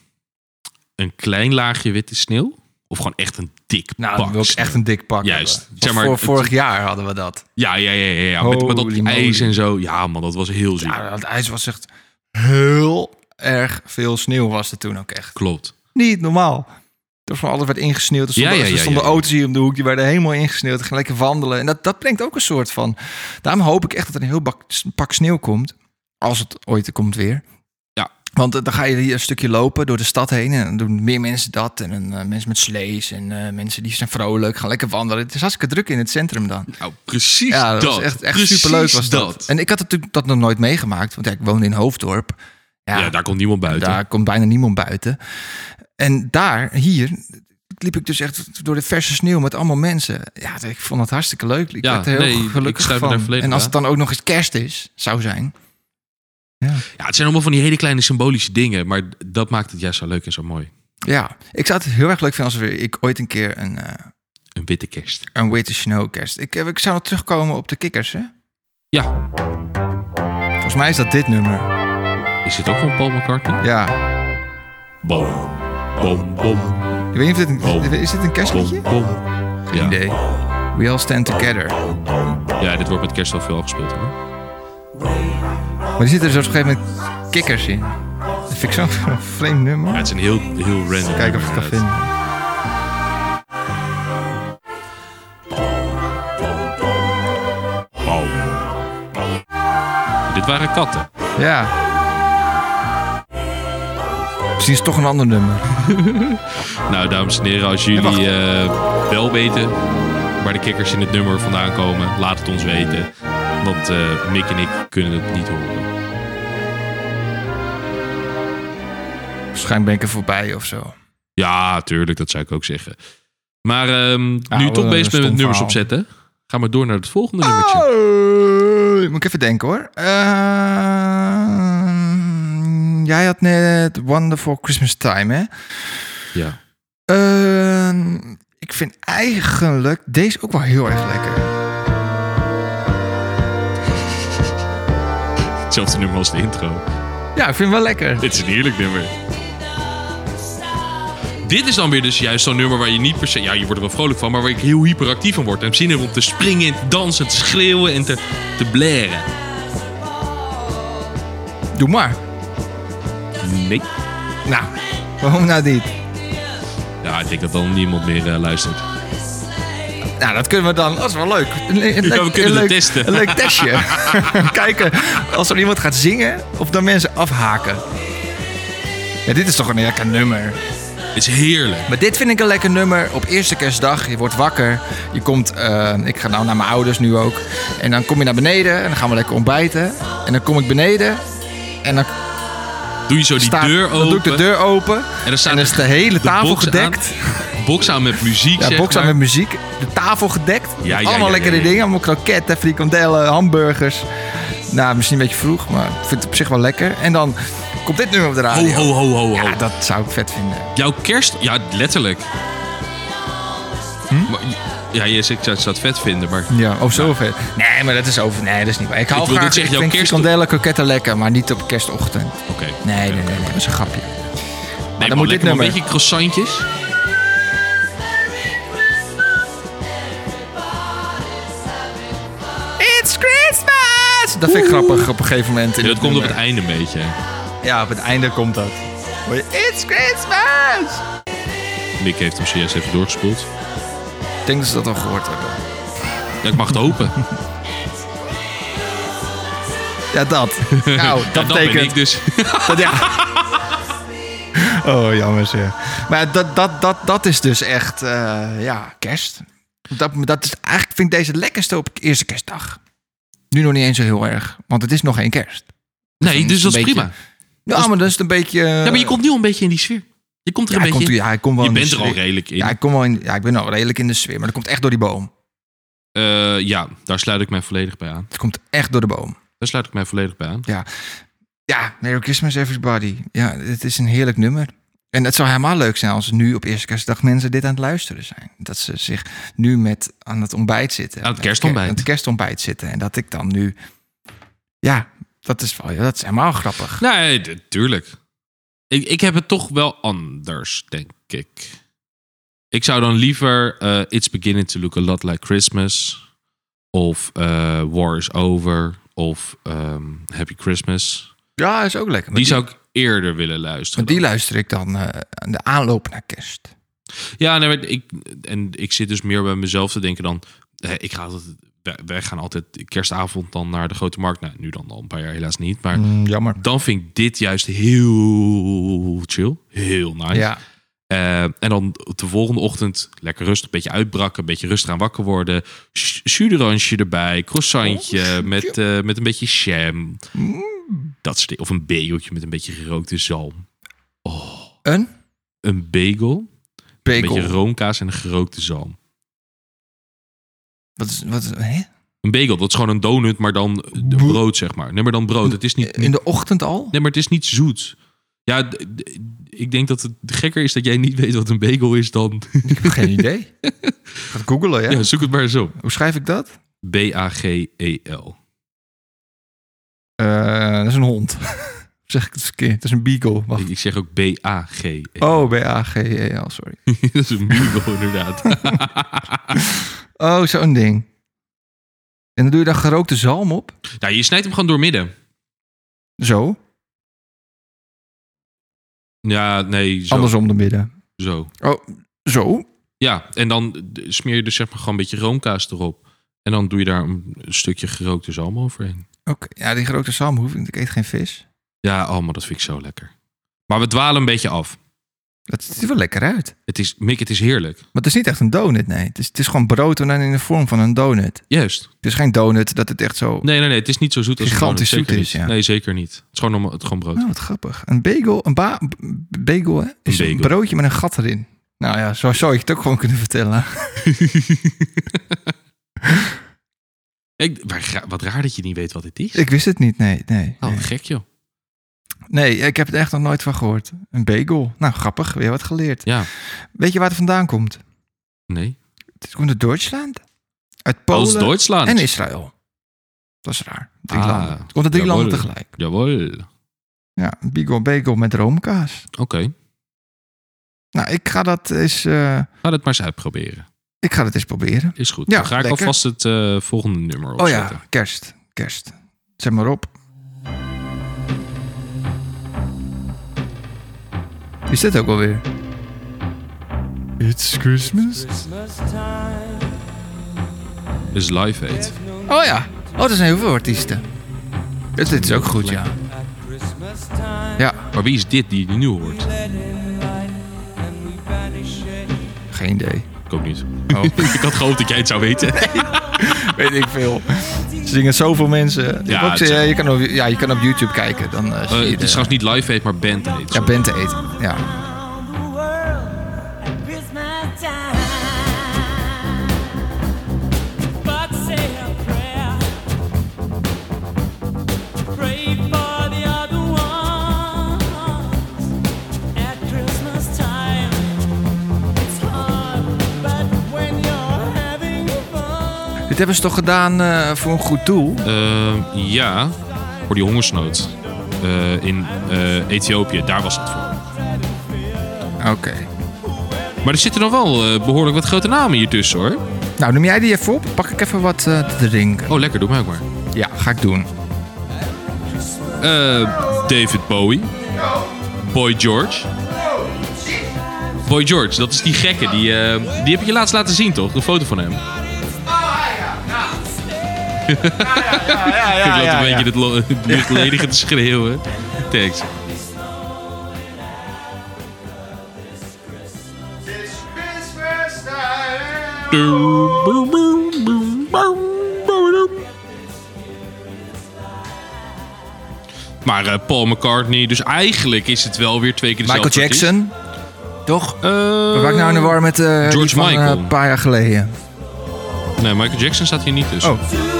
[SPEAKER 1] Een klein laagje witte sneeuw? Of gewoon echt een dik
[SPEAKER 2] Nou,
[SPEAKER 1] pak
[SPEAKER 2] dan wil ik
[SPEAKER 1] sneeuw?
[SPEAKER 2] echt een dik pak
[SPEAKER 1] Juist.
[SPEAKER 2] hebben.
[SPEAKER 1] Zeg maar,
[SPEAKER 2] voor
[SPEAKER 1] het-
[SPEAKER 2] vorig jaar hadden we dat.
[SPEAKER 1] Ja, ja, ja, ja. ja. Met, met dat
[SPEAKER 2] Holy moly.
[SPEAKER 1] ijs en zo. Ja, man, dat was heel ziek.
[SPEAKER 2] Ja, het ijs was echt heel erg veel sneeuw was er toen ook echt.
[SPEAKER 1] Klopt.
[SPEAKER 2] Niet normaal. Er van alles werd ingesneeuwd. Er stonden,
[SPEAKER 1] Ja, ja,
[SPEAKER 2] er
[SPEAKER 1] ja,
[SPEAKER 2] stonden
[SPEAKER 1] ja, ja.
[SPEAKER 2] auto's hier om de hoek. Die werden helemaal ingesneeuwd. Gelijk wandelen. En dat, dat brengt ook een soort van... Daarom hoop ik echt dat er een heel bak, pak sneeuw komt. Als het ooit er komt weer.
[SPEAKER 1] Ja.
[SPEAKER 2] Want eh, dan ga je hier een stukje lopen door de stad heen. En dan doen meer mensen dat. En dan, eh, mensen met slees. En eh, mensen die zijn vrolijk. Gaan lekker wandelen. Het is hartstikke druk in het centrum dan.
[SPEAKER 1] Nou, precies
[SPEAKER 2] Ja, dat,
[SPEAKER 1] dat.
[SPEAKER 2] was echt, echt
[SPEAKER 1] Precies
[SPEAKER 2] superleuk was dat.
[SPEAKER 1] dat.
[SPEAKER 2] En ik had natuurlijk dat nog nooit meegemaakt, want ja, ik woonde in Hoofddorp. Ja,
[SPEAKER 1] Ja, daar komt niemand buiten.
[SPEAKER 2] daar komt bijna niemand buiten. En daar, hier, liep ik dus echt door de verse sneeuw met allemaal mensen. Ja, ik vond het hartstikke leuk. Ik
[SPEAKER 1] Ja,
[SPEAKER 2] werd er heel
[SPEAKER 1] nee, ik
[SPEAKER 2] gelukkig
[SPEAKER 1] sluit me
[SPEAKER 2] van.
[SPEAKER 1] daar volledig
[SPEAKER 2] en als het
[SPEAKER 1] bij.
[SPEAKER 2] dan ook nog eens kerst is, zou zijn. Ja.
[SPEAKER 1] Ja, het zijn allemaal van die hele kleine symbolische dingen. Maar dat maakt het juist zo leuk en zo mooi.
[SPEAKER 2] ja, ik zou het heel erg leuk vinden als er weer, ik ooit een keer een, eh
[SPEAKER 1] Een witte kerst.
[SPEAKER 2] een Way to Snow kerst... Ik, eh, ik zou nog terugkomen op de kikkers, hè?
[SPEAKER 1] Ja,
[SPEAKER 2] Volgens mij is dat dit nummer.
[SPEAKER 1] is het ook van Paul McCartney?
[SPEAKER 2] Ja.
[SPEAKER 1] Bom, bom, bom,
[SPEAKER 2] Ik weet niet of
[SPEAKER 1] Oh.
[SPEAKER 2] dit een, is dit een kerstliedje?
[SPEAKER 1] bom, bom. Ja.
[SPEAKER 2] idee. We all stand together.
[SPEAKER 1] ja, dit wordt met kerst wel veel afgespeeld hoor.
[SPEAKER 2] Maar die zitten er dus op een gegeven moment kikkers in. Dat vind ik zo'n *laughs* vreemd nummer.
[SPEAKER 1] Ja, het is een heel, heel random.
[SPEAKER 2] Kijken of ik het kan
[SPEAKER 1] inderdaad.
[SPEAKER 2] vinden.
[SPEAKER 1] Dit waren katten.
[SPEAKER 2] Ja. Misschien is het toch een ander nummer.
[SPEAKER 1] Nou, dames en heren, als
[SPEAKER 2] En wacht.
[SPEAKER 1] jullie eh, wel weten waar de kikkers in het nummer vandaan komen, laat het ons weten. Want eh, Mick en ik kunnen het niet horen.
[SPEAKER 2] Waarschijnlijk ben ik er voorbij of zo.
[SPEAKER 1] Ja, tuurlijk, dat zou ik ook zeggen. Maar ehm, nu je
[SPEAKER 2] wat
[SPEAKER 1] toch
[SPEAKER 2] een
[SPEAKER 1] bezig
[SPEAKER 2] stom
[SPEAKER 1] bent met nummers
[SPEAKER 2] verhaal.
[SPEAKER 1] opzetten, ga maar door naar het volgende nummertje.
[SPEAKER 2] Oh, moet ik even denken hoor. Ehm, jij had net Wonderful Christmas Time, hè?
[SPEAKER 1] Ja.
[SPEAKER 2] Ehm, ik vind eigenlijk deze ook wel heel erg lekker.
[SPEAKER 1] Hetzelfde nummer als de intro.
[SPEAKER 2] Ja, ik vind hem wel lekker.
[SPEAKER 1] Dit is een heerlijk nummer. Dit is dan weer dus juist zo'n nummer waar je niet per se... Ja, je wordt er wel vrolijk van, maar waar ik heel hyperactief van word. En zin heb om te springen, te dansen, te schreeuwen en te, te blaren.
[SPEAKER 2] Doe maar.
[SPEAKER 1] Nee.
[SPEAKER 2] Nou, waarom nou niet?
[SPEAKER 1] Ja, ik denk dat dan niemand meer eh, luistert.
[SPEAKER 2] Nou, dat kunnen we dan. Dat is wel leuk. Een, le- een
[SPEAKER 1] Ja,
[SPEAKER 2] leuk-
[SPEAKER 1] we kunnen
[SPEAKER 2] een
[SPEAKER 1] het
[SPEAKER 2] leuk,
[SPEAKER 1] testen.
[SPEAKER 2] Een leuk
[SPEAKER 1] *laughs*
[SPEAKER 2] testje. Kijken als er iemand gaat zingen of dan mensen afhaken. Ja, dit is toch een lekker nummer.
[SPEAKER 1] Het is heerlijk.
[SPEAKER 2] Maar dit vind ik een lekker nummer. Op eerste kerstdag, je wordt wakker. Je komt, eh, ik ga nou naar mijn ouders nu ook. En dan kom je naar beneden en dan gaan we lekker ontbijten. En dan kom ik beneden en dan
[SPEAKER 1] Doe je zo die
[SPEAKER 2] staat,
[SPEAKER 1] deur
[SPEAKER 2] dan
[SPEAKER 1] open.
[SPEAKER 2] doe ik de deur open.
[SPEAKER 1] En dan staat
[SPEAKER 2] En dan is de hele tafel
[SPEAKER 1] box
[SPEAKER 2] gedekt.
[SPEAKER 1] Aan, box aan met muziek,
[SPEAKER 2] Ja,
[SPEAKER 1] zeg
[SPEAKER 2] box aan
[SPEAKER 1] maar.
[SPEAKER 2] met muziek. De tafel gedekt.
[SPEAKER 1] Ja, ja,
[SPEAKER 2] allemaal
[SPEAKER 1] ja,
[SPEAKER 2] lekkere
[SPEAKER 1] ja, ja.
[SPEAKER 2] dingen. Allemaal kroketten, frikandellen, hamburgers. Nou, misschien een beetje vroeg, maar ik vind het op zich wel lekker. En dan komt dit nummer op de radio.
[SPEAKER 1] Ho, ho, ho, ho, ho.
[SPEAKER 2] Ja, dat zou ik vet vinden.
[SPEAKER 1] Jouw kerst... Ja, letterlijk. Maar- ja, je zegt, ik zou het zou het vet vinden, maar...
[SPEAKER 2] Hm? Ja, of zo vet. Nee, maar dat is over. Nee, dat is niet waar. Ik hou
[SPEAKER 1] Ik wil
[SPEAKER 2] graag...
[SPEAKER 1] niet zeggen,
[SPEAKER 2] ik
[SPEAKER 1] jouw
[SPEAKER 2] vind
[SPEAKER 1] kerst-
[SPEAKER 2] frikandellen, kroketten lekker, maar niet op kerstochtend.
[SPEAKER 1] Oké.
[SPEAKER 2] Nee, nee, nee, nee, Dat is een grapje.
[SPEAKER 1] Nee,
[SPEAKER 2] dan
[SPEAKER 1] man, lekker
[SPEAKER 2] moet dit
[SPEAKER 1] maar Een
[SPEAKER 2] nummer.
[SPEAKER 1] beetje croissantjes.
[SPEAKER 2] It's Christmas! Dat vind ik grappig op een gegeven moment. in
[SPEAKER 1] Ja, dat
[SPEAKER 2] dit
[SPEAKER 1] komt op
[SPEAKER 2] nummer.
[SPEAKER 1] het einde een beetje.
[SPEAKER 2] Ja, op het einde komt dat. Hoor je, It's Christmas!
[SPEAKER 1] Mick heeft hem zojuist even doorgespoeld.
[SPEAKER 2] Ik denk dat ze dat al gehoord hebben.
[SPEAKER 1] Ja, ik mag het
[SPEAKER 2] *laughs*
[SPEAKER 1] hopen.
[SPEAKER 2] Nou, Ja, dat. Nou,
[SPEAKER 1] *laughs* *laughs* Ja, dat
[SPEAKER 2] dat,
[SPEAKER 1] ben
[SPEAKER 2] betekent...
[SPEAKER 1] ik dus.
[SPEAKER 2] *laughs* Dat, ja. *laughs* Oh, jammer zeg. Maar dat, dat, dat, dat is dus echt, eh, ja, kerst. Dat, dat is, eigenlijk vind ik deze het lekkerste op eerste kerstdag. Nu nog niet eens zo heel erg, want het is nog geen kerst.
[SPEAKER 1] Nee, dus dat is
[SPEAKER 2] Een beetje.
[SPEAKER 1] prima.
[SPEAKER 2] Ja, maar dat is een beetje... eh,
[SPEAKER 1] Ja, maar je komt nu al een beetje in die sfeer. Je komt er
[SPEAKER 2] Ja,
[SPEAKER 1] een
[SPEAKER 2] hij
[SPEAKER 1] beetje...
[SPEAKER 2] komt, ja, hij komt wel
[SPEAKER 1] je
[SPEAKER 2] in de
[SPEAKER 1] bent er al
[SPEAKER 2] sfeer.
[SPEAKER 1] redelijk in.
[SPEAKER 2] Ja,
[SPEAKER 1] Ja,
[SPEAKER 2] ik, kom wel in, ja, ik ben al redelijk in de sfeer, maar dat komt echt door die boom.
[SPEAKER 1] Eh, ja, daar sluit ik mij volledig bij aan.
[SPEAKER 2] Het komt echt door de boom.
[SPEAKER 1] Daar sluit ik mij volledig bij aan.
[SPEAKER 2] Ja, Merry Christmas Everybody. Ja, het is een heerlijk nummer. En het zou helemaal leuk zijn als nu op eerste kerstdag mensen dit aan het luisteren zijn. Dat ze zich nu met aan het ontbijt zitten.
[SPEAKER 1] Aan het kerstontbijt.
[SPEAKER 2] Aan het kerstontbijt zitten. En dat ik dan nu... Ja, dat is, wel, ja, dat is helemaal grappig.
[SPEAKER 1] Nee, d- tuurlijk. Ik, ik heb het toch wel anders, denk ik. Ik zou dan liever eh, It's Beginning to Look a Lot Like Christmas. Of eh, War is Over. Of ehm, Happy Christmas.
[SPEAKER 2] Ja, is ook lekker. Maar
[SPEAKER 1] Die zou ik eerder willen luisteren.
[SPEAKER 2] maar die
[SPEAKER 1] dan.
[SPEAKER 2] luister ik dan eh, aan de aanloop naar kerst.
[SPEAKER 1] Ja, nee, maar ik, en ik zit dus meer bij mezelf te denken dan... eh, ik ga altijd, wij, wij gaan altijd kerstavond dan naar de Grote Markt. Nou, nu dan al een paar jaar helaas niet. Maar
[SPEAKER 2] Mm, jammer.
[SPEAKER 1] dan vind ik dit juist heel chill. Heel nice.
[SPEAKER 2] Ja,
[SPEAKER 1] Eh, en dan op de volgende ochtend lekker rustig, een beetje uitbrakken, een beetje rustig aan wakker worden. Ch- Chuderantje erbij, croissantje
[SPEAKER 2] Oh,
[SPEAKER 1] met, eh, met een beetje jam. Dat soort dingen. Of een bageltje met een beetje gerookte zalm.
[SPEAKER 2] een
[SPEAKER 1] Een bagel, een
[SPEAKER 2] bagel.
[SPEAKER 1] beetje roomkaas en een gerookte zalm.
[SPEAKER 2] Wat is, wat, is- hè?
[SPEAKER 1] Een bagel, dat is gewoon een donut, maar dan eh, brood, zeg maar. Nee, maar dan brood. Het is niet,
[SPEAKER 2] In de ochtend al?
[SPEAKER 1] nee, maar het is niet zoet. Ja, d- d- ik denk dat het gekker is dat jij niet weet wat een bagel is dan...
[SPEAKER 2] Ik heb geen
[SPEAKER 1] *laughs*
[SPEAKER 2] idee. Gaat googelen, ja?
[SPEAKER 1] Ja, zoek het maar eens op.
[SPEAKER 2] Hoe schrijf ik dat?
[SPEAKER 1] B-A-G-E-L.
[SPEAKER 2] Eh, dat is een hond. *laughs* zeg ik het verkeerd? Dat is een beagle. Wacht.
[SPEAKER 1] Ik, ik zeg ook B-A-G-E.
[SPEAKER 2] Oh, B-A-G-E-L, sorry.
[SPEAKER 1] *laughs* dat is een beagle inderdaad.
[SPEAKER 2] Oh, zo'n ding. En dan doe je daar gerookte zalm op.
[SPEAKER 1] *laughs* nou, je snijdt hem gewoon doormidden.
[SPEAKER 2] Zo.
[SPEAKER 1] Ja, nee, zo.
[SPEAKER 2] Andersom de midden.
[SPEAKER 1] zo.
[SPEAKER 2] Oh, zo.
[SPEAKER 1] Ja, en dan eh, smeer je dus zeg maar gewoon een beetje roomkaas erop. En dan doe je daar een stukje gerookte zalm overheen.
[SPEAKER 2] Oké. Ja, die gerookte zalm hoef ik. Ik eet geen vis.
[SPEAKER 1] Ja, oh, maar dat vind ik zo lekker. Maar we dwalen een beetje af.
[SPEAKER 2] Dat ziet er wel lekker uit.
[SPEAKER 1] Het is, Mick, het is heerlijk.
[SPEAKER 2] Maar het is niet echt een donut, nee. Het is, het is gewoon brood en dan in de vorm van een donut.
[SPEAKER 1] Juist.
[SPEAKER 2] Het is geen donut dat het echt zo...
[SPEAKER 1] Nee, nee, nee. Het is niet zo zoet als een
[SPEAKER 2] Gigantisch
[SPEAKER 1] donut, zeker
[SPEAKER 2] zoet is,
[SPEAKER 1] niet.
[SPEAKER 2] ja.
[SPEAKER 1] Nee, zeker niet. Het is gewoon, normaal- het is gewoon brood.
[SPEAKER 2] Nou, wat grappig. Een bagel, een ba b- bagel, hè? Is een,
[SPEAKER 1] bagel.
[SPEAKER 2] broodje met een gat erin. Nou ja, zo zou je het ook gewoon kunnen
[SPEAKER 1] *laughs*
[SPEAKER 2] vertellen.
[SPEAKER 1] Ik, maar ga- wat raar dat je niet weet wat het is.
[SPEAKER 2] Ik wist het niet, nee, nee.
[SPEAKER 1] Oh,
[SPEAKER 2] nee.
[SPEAKER 1] gek joh.
[SPEAKER 2] Nee, ik heb het echt nog nooit van gehoord. Een bagel. Nou, grappig. Weer wat geleerd.
[SPEAKER 1] Ja,
[SPEAKER 2] Weet je waar het vandaan komt?
[SPEAKER 1] nee.
[SPEAKER 2] Het komt uit Duitsland. Uit Polen
[SPEAKER 1] Als Oh, Duitsland.
[SPEAKER 2] en Israël. Dat is raar. Drie
[SPEAKER 1] Ah,
[SPEAKER 2] landen. Het komt uit drie
[SPEAKER 1] jawohl.
[SPEAKER 2] landen tegelijk.
[SPEAKER 1] Jawel.
[SPEAKER 2] Ja, een bagel, bagel met roomkaas.
[SPEAKER 1] Oké,
[SPEAKER 2] Nou, ik ga dat eens, eh,
[SPEAKER 1] ga dat maar eens uitproberen.
[SPEAKER 2] ik ga dat eens proberen.
[SPEAKER 1] Is goed.
[SPEAKER 2] Ja,
[SPEAKER 1] Dan ga ik
[SPEAKER 2] lekker.
[SPEAKER 1] alvast het eh, volgende nummer
[SPEAKER 2] Oh
[SPEAKER 1] opzetten.
[SPEAKER 2] ja, kerst. Kerst. Zet maar op. Is dit ook alweer? It's Christmas.
[SPEAKER 3] Christmas time.
[SPEAKER 1] Is Live Aid.
[SPEAKER 2] Oh ja. Oh, er zijn heel veel artiesten. Dit, dit is ook goed, ja.
[SPEAKER 3] At Christmas time.
[SPEAKER 2] Ja,
[SPEAKER 1] Maar wie is dit die je nu hoort?
[SPEAKER 3] Let in light and we banish it.
[SPEAKER 2] geen *laughs* idee.
[SPEAKER 1] Ik ook niet. Oh, ik had gehoopt dat jij het zou weten.
[SPEAKER 2] Weet ik veel. Zingen zoveel mensen.
[SPEAKER 1] Ja,
[SPEAKER 2] Ja, ook,
[SPEAKER 1] het
[SPEAKER 2] eh,
[SPEAKER 1] zijn-
[SPEAKER 2] je kan op, ja, je kan op YouTube kijken. Dan eh, zie
[SPEAKER 1] Eh,
[SPEAKER 2] je
[SPEAKER 1] het
[SPEAKER 2] de-
[SPEAKER 1] is trouwens niet Live Aid, maar Band Aid.
[SPEAKER 2] Ja, Bente eten. Ja.
[SPEAKER 6] around the world at Christmas time. But say a prayer. Pray for the other ones at Christmas time. It's hard, but when you're having fun.
[SPEAKER 2] Dit hebben ze toch gedaan eh, voor een goed doel?
[SPEAKER 1] Ehm, ja, voor die hongersnood eh, in eh, Ethiopië. Daar was het voor.
[SPEAKER 2] Oké.
[SPEAKER 1] Maar er zitten nog wel eh, behoorlijk wat grote namen hier tussen hoor.
[SPEAKER 2] Nou, noem jij die even op? Pak ik even wat eh, te drinken.
[SPEAKER 1] Oh, lekker, doe mij ook maar.
[SPEAKER 2] Ja, ga ik doen.
[SPEAKER 1] Eh, David Bowie. Boy George. Boy George, dat is die gekke. Die, eh, die heb ik je laatst laten zien, toch? Een foto van hem. *laughs* Ik loop een beetje dit lo- het licht ledigen te schreeuwen. Thanks. Maar eh, dus Paul McCartney, dus eigenlijk is het wel weer twee keer dezelfde
[SPEAKER 2] Michael
[SPEAKER 1] artiest.
[SPEAKER 2] Jackson. Toch?
[SPEAKER 1] Eh,
[SPEAKER 2] We waren nou in de war met eh, die
[SPEAKER 1] George
[SPEAKER 2] van, eh,
[SPEAKER 1] Michael.
[SPEAKER 2] een paar jaar geleden.
[SPEAKER 1] Nee, Michael Jackson staat hier niet dus. tussen.
[SPEAKER 2] Oh.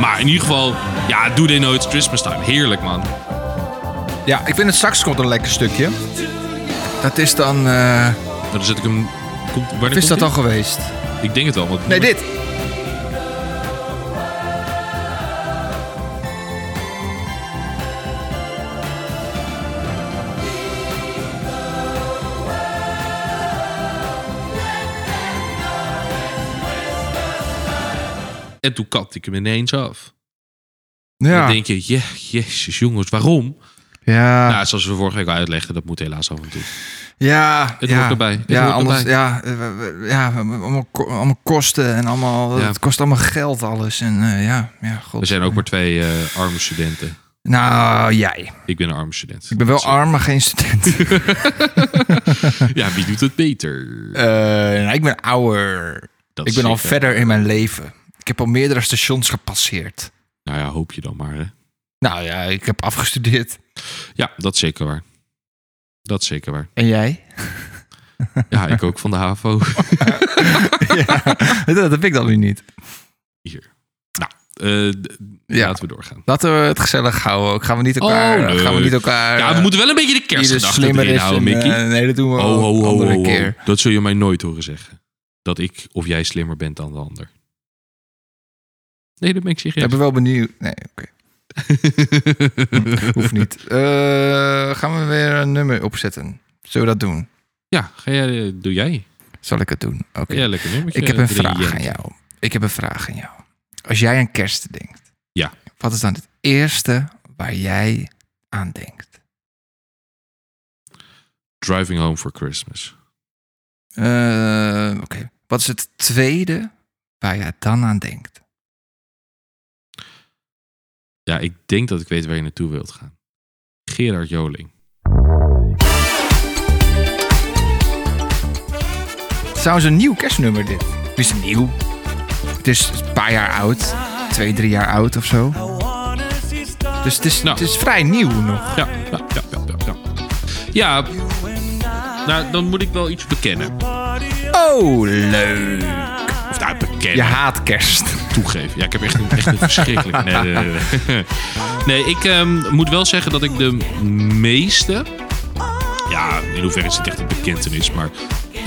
[SPEAKER 1] Maar in ieder geval, ja, Do They Know It's Christmas Time. Heerlijk, man. Nou,
[SPEAKER 2] Ja, ik vind het straks komt een lekker stukje. Dat is dan... eh,
[SPEAKER 1] Nou, Dan zet ik hem... Komt, wanneer
[SPEAKER 2] wat is
[SPEAKER 1] komt
[SPEAKER 2] dat
[SPEAKER 1] dit?
[SPEAKER 2] dan geweest?
[SPEAKER 1] Ik denk het wel. want-
[SPEAKER 2] Nee, dit.
[SPEAKER 1] En toen kapte ik hem ineens af. Dan
[SPEAKER 2] Ja.
[SPEAKER 1] denk je, ja, jezus jongens, waarom?
[SPEAKER 2] Ja.
[SPEAKER 1] Nou, zoals we vorige week al uitlegden, dat moet helaas af en toe.
[SPEAKER 2] Ja.
[SPEAKER 1] Het
[SPEAKER 2] ja.
[SPEAKER 1] hoort erbij. Het
[SPEAKER 2] ja,
[SPEAKER 1] hoort
[SPEAKER 2] anders,
[SPEAKER 1] erbij.
[SPEAKER 2] ja, eh, we- we- ja, we- we- allemaal, ko- allemaal kosten en allemaal...
[SPEAKER 1] Ja. Dus
[SPEAKER 2] Het kost allemaal geld alles. En eh, ja, ja, god.
[SPEAKER 1] Er zijn ook maar twee eh, arme studenten.
[SPEAKER 2] Nou, jij.
[SPEAKER 1] Ik ben een arme student.
[SPEAKER 2] Ik ben wel
[SPEAKER 1] Sorry.
[SPEAKER 2] arm, maar geen
[SPEAKER 1] *laughs*
[SPEAKER 2] student.
[SPEAKER 1] Ja, wie doet het beter?
[SPEAKER 2] Eh, nou, ik ben ouder.
[SPEAKER 1] Dat
[SPEAKER 2] Ik
[SPEAKER 1] is
[SPEAKER 2] ben al
[SPEAKER 1] zeker.
[SPEAKER 2] verder in mijn leven. Ik heb al meerdere stations gepasseerd.
[SPEAKER 1] Nou ja, hoop je dan maar. Hè?
[SPEAKER 2] Nou ja, ik heb afgestudeerd.
[SPEAKER 1] Ja, dat is zeker waar. Dat is zeker waar.
[SPEAKER 2] En jij?
[SPEAKER 1] Ja, ik ook van de HAVO.
[SPEAKER 2] dat, dat heb ik dan weer niet.
[SPEAKER 1] Hier. Nou, eh, d-
[SPEAKER 2] Ja.
[SPEAKER 1] laten we doorgaan.
[SPEAKER 2] Laten we het gezellig houden. Ik Gaan we niet
[SPEAKER 1] Oh,
[SPEAKER 2] elkaar...
[SPEAKER 1] nee.
[SPEAKER 2] gaan we niet elkaar... eh,
[SPEAKER 1] Ja, we moeten wel een beetje de kerstgedachte erin houden, Mickey.
[SPEAKER 2] nee, dat doen we
[SPEAKER 1] Ho,
[SPEAKER 2] al
[SPEAKER 1] ho,
[SPEAKER 2] eh, een
[SPEAKER 1] ho,
[SPEAKER 2] andere
[SPEAKER 1] ho, ho.
[SPEAKER 2] keer.
[SPEAKER 1] Dat zul je mij nooit horen zeggen. Dat ik of jij slimmer bent dan de ander. Nee, dat ben ik
[SPEAKER 2] Ik
[SPEAKER 1] serieus.
[SPEAKER 2] ben wel benieuwd. Nee, oké. Hoeft niet. Eh, gaan we weer een nummer opzetten? Zullen we dat doen?
[SPEAKER 1] ja, ga jij, eh, doe jij.
[SPEAKER 2] Zal ik het doen? Oké.
[SPEAKER 1] Ga jij lekker nummertje eh,
[SPEAKER 2] Ik heb een
[SPEAKER 1] erin
[SPEAKER 2] vraag aan
[SPEAKER 1] jenken.
[SPEAKER 2] jou. Ik heb een vraag aan jou. Als jij aan kerst denkt,
[SPEAKER 1] Ja.
[SPEAKER 2] wat is dan het eerste waar jij aan denkt?
[SPEAKER 1] Driving Home for Christmas.
[SPEAKER 2] Eh, Oké. Wat is het tweede waar jij dan aan denkt?
[SPEAKER 1] Ja, ik denk dat ik weet waar je naartoe wilt gaan. Gerard Joling.
[SPEAKER 2] Trouwens, een nieuw kerstnummer dit. Het is nieuw. Het is een paar jaar oud. Twee, drie jaar oud of zo. Dus het is,
[SPEAKER 1] Nou.
[SPEAKER 2] het is vrij nieuw nog.
[SPEAKER 1] Ja, ja, ja, ja, ja. Ja, ja nou, dan moet ik wel iets bekennen.
[SPEAKER 2] Oh, leuk.
[SPEAKER 1] Of nou, bekennen.
[SPEAKER 2] Je haat kerst.
[SPEAKER 1] toegeven. Ja, ik heb echt een, echt een verschrikkelijk. Nee, nee, nee, nee. *laughs* Nee, ik ehm, moet wel zeggen dat ik de meeste. Ja, in hoeverre is het echt een bekentenis, maar. eh,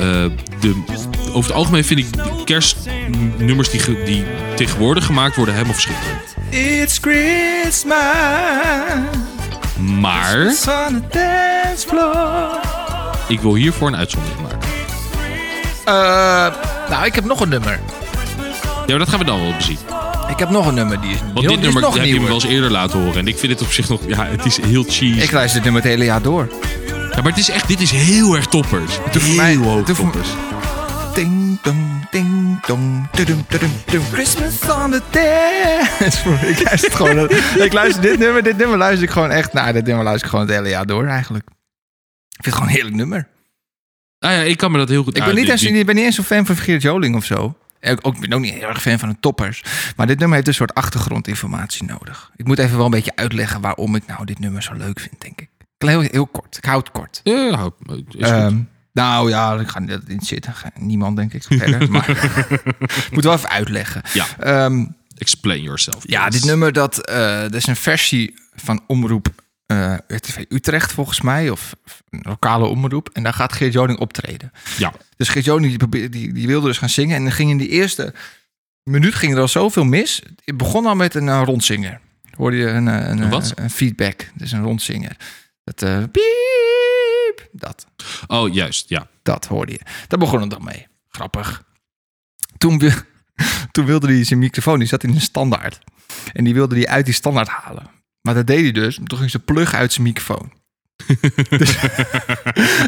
[SPEAKER 1] de, over het algemeen vind ik de kerstnummers die, ge- die tegenwoordig gemaakt worden helemaal verschrikkelijk.
[SPEAKER 2] It's Christmas.
[SPEAKER 1] Maar
[SPEAKER 2] It's on the dance floor.
[SPEAKER 1] ik wil hiervoor een uitzondering maken.
[SPEAKER 2] Eh, nou, ik heb nog een nummer.
[SPEAKER 1] Ja, maar dat gaan we dan wel bezien.
[SPEAKER 2] Ik heb nog een nummer die is nieuw.
[SPEAKER 1] Want dit
[SPEAKER 2] Die is
[SPEAKER 1] nummer
[SPEAKER 2] nog
[SPEAKER 1] heb je me
[SPEAKER 2] nieuwer.
[SPEAKER 1] wel eens eerder laten horen. En ik vind het op zich nog. Ja, het is heel cheesy.
[SPEAKER 2] Ik luister dit nummer het hele jaar door.
[SPEAKER 1] Ja, maar het is echt. Dit is heel erg toppers.
[SPEAKER 2] doet voor
[SPEAKER 1] heel
[SPEAKER 2] mij-
[SPEAKER 1] hoog
[SPEAKER 2] het doet voor-
[SPEAKER 1] toppers.
[SPEAKER 2] Ding dong, ding dong, tudum, tudum, tudum. Christmas on the dance *laughs* floor. Ik luister gewoon. ik luister dit nummer, dit nummer luister ik gewoon echt. Nou, dit nummer luister ik gewoon het hele jaar door eigenlijk. Ik vind het gewoon een heerlijk nummer.
[SPEAKER 1] Nou ja, ik kan me dat heel goed
[SPEAKER 2] Ik ben,
[SPEAKER 1] ah,
[SPEAKER 2] niet
[SPEAKER 1] dit-
[SPEAKER 2] eens,
[SPEAKER 1] dit-
[SPEAKER 2] ik ben niet eens zo'n fan van Geert Joling of zo. En Ik ook, ik ben ook niet heel erg fan van de toppers. Maar dit nummer heeft een soort achtergrondinformatie nodig. Ik moet even wel een beetje uitleggen waarom ik nou dit nummer zo leuk vind, denk ik. Ik Heel, heel kort. Ik hou het kort.
[SPEAKER 1] Ja, ja, is goed.
[SPEAKER 2] Ehm, nou ja, ik ga niet in zitten. Ga- Niemand, denk ik.
[SPEAKER 1] *laughs*
[SPEAKER 2] Verder, maar *laughs* ik moet wel even uitleggen.
[SPEAKER 1] Ja. dus-
[SPEAKER 2] Ehm,
[SPEAKER 1] Explain yourself.
[SPEAKER 2] ja, dit
[SPEAKER 1] please.
[SPEAKER 2] nummer dat, eh, dat is een versie van omroep eh, RTV Utrecht, volgens mij. Of een lokale omroep. En daar gaat Geert Joling optreden.
[SPEAKER 1] Ja,
[SPEAKER 2] Dus Geert Joning die, probeerde- die, die wilde dus gaan zingen. En dan ging in die eerste minuut ging er al zoveel mis. Het begon al met een eh, rondzinger. Hoorde je een, eh, een,
[SPEAKER 1] Een wat?
[SPEAKER 2] eh, een feedback. Dus een rondzinger. Dat eh, piep, dat,
[SPEAKER 1] oh juist, ja.
[SPEAKER 2] dat hoorde je. Daar begon het dan mee. Grappig. Toen, wi- *laughs* toen wilde hij zijn microfoon, die zat in een standaard. En die wilde hij uit die standaard halen. Maar dat deed hij dus. Toen ging zijn plug uit zijn microfoon. *laughs*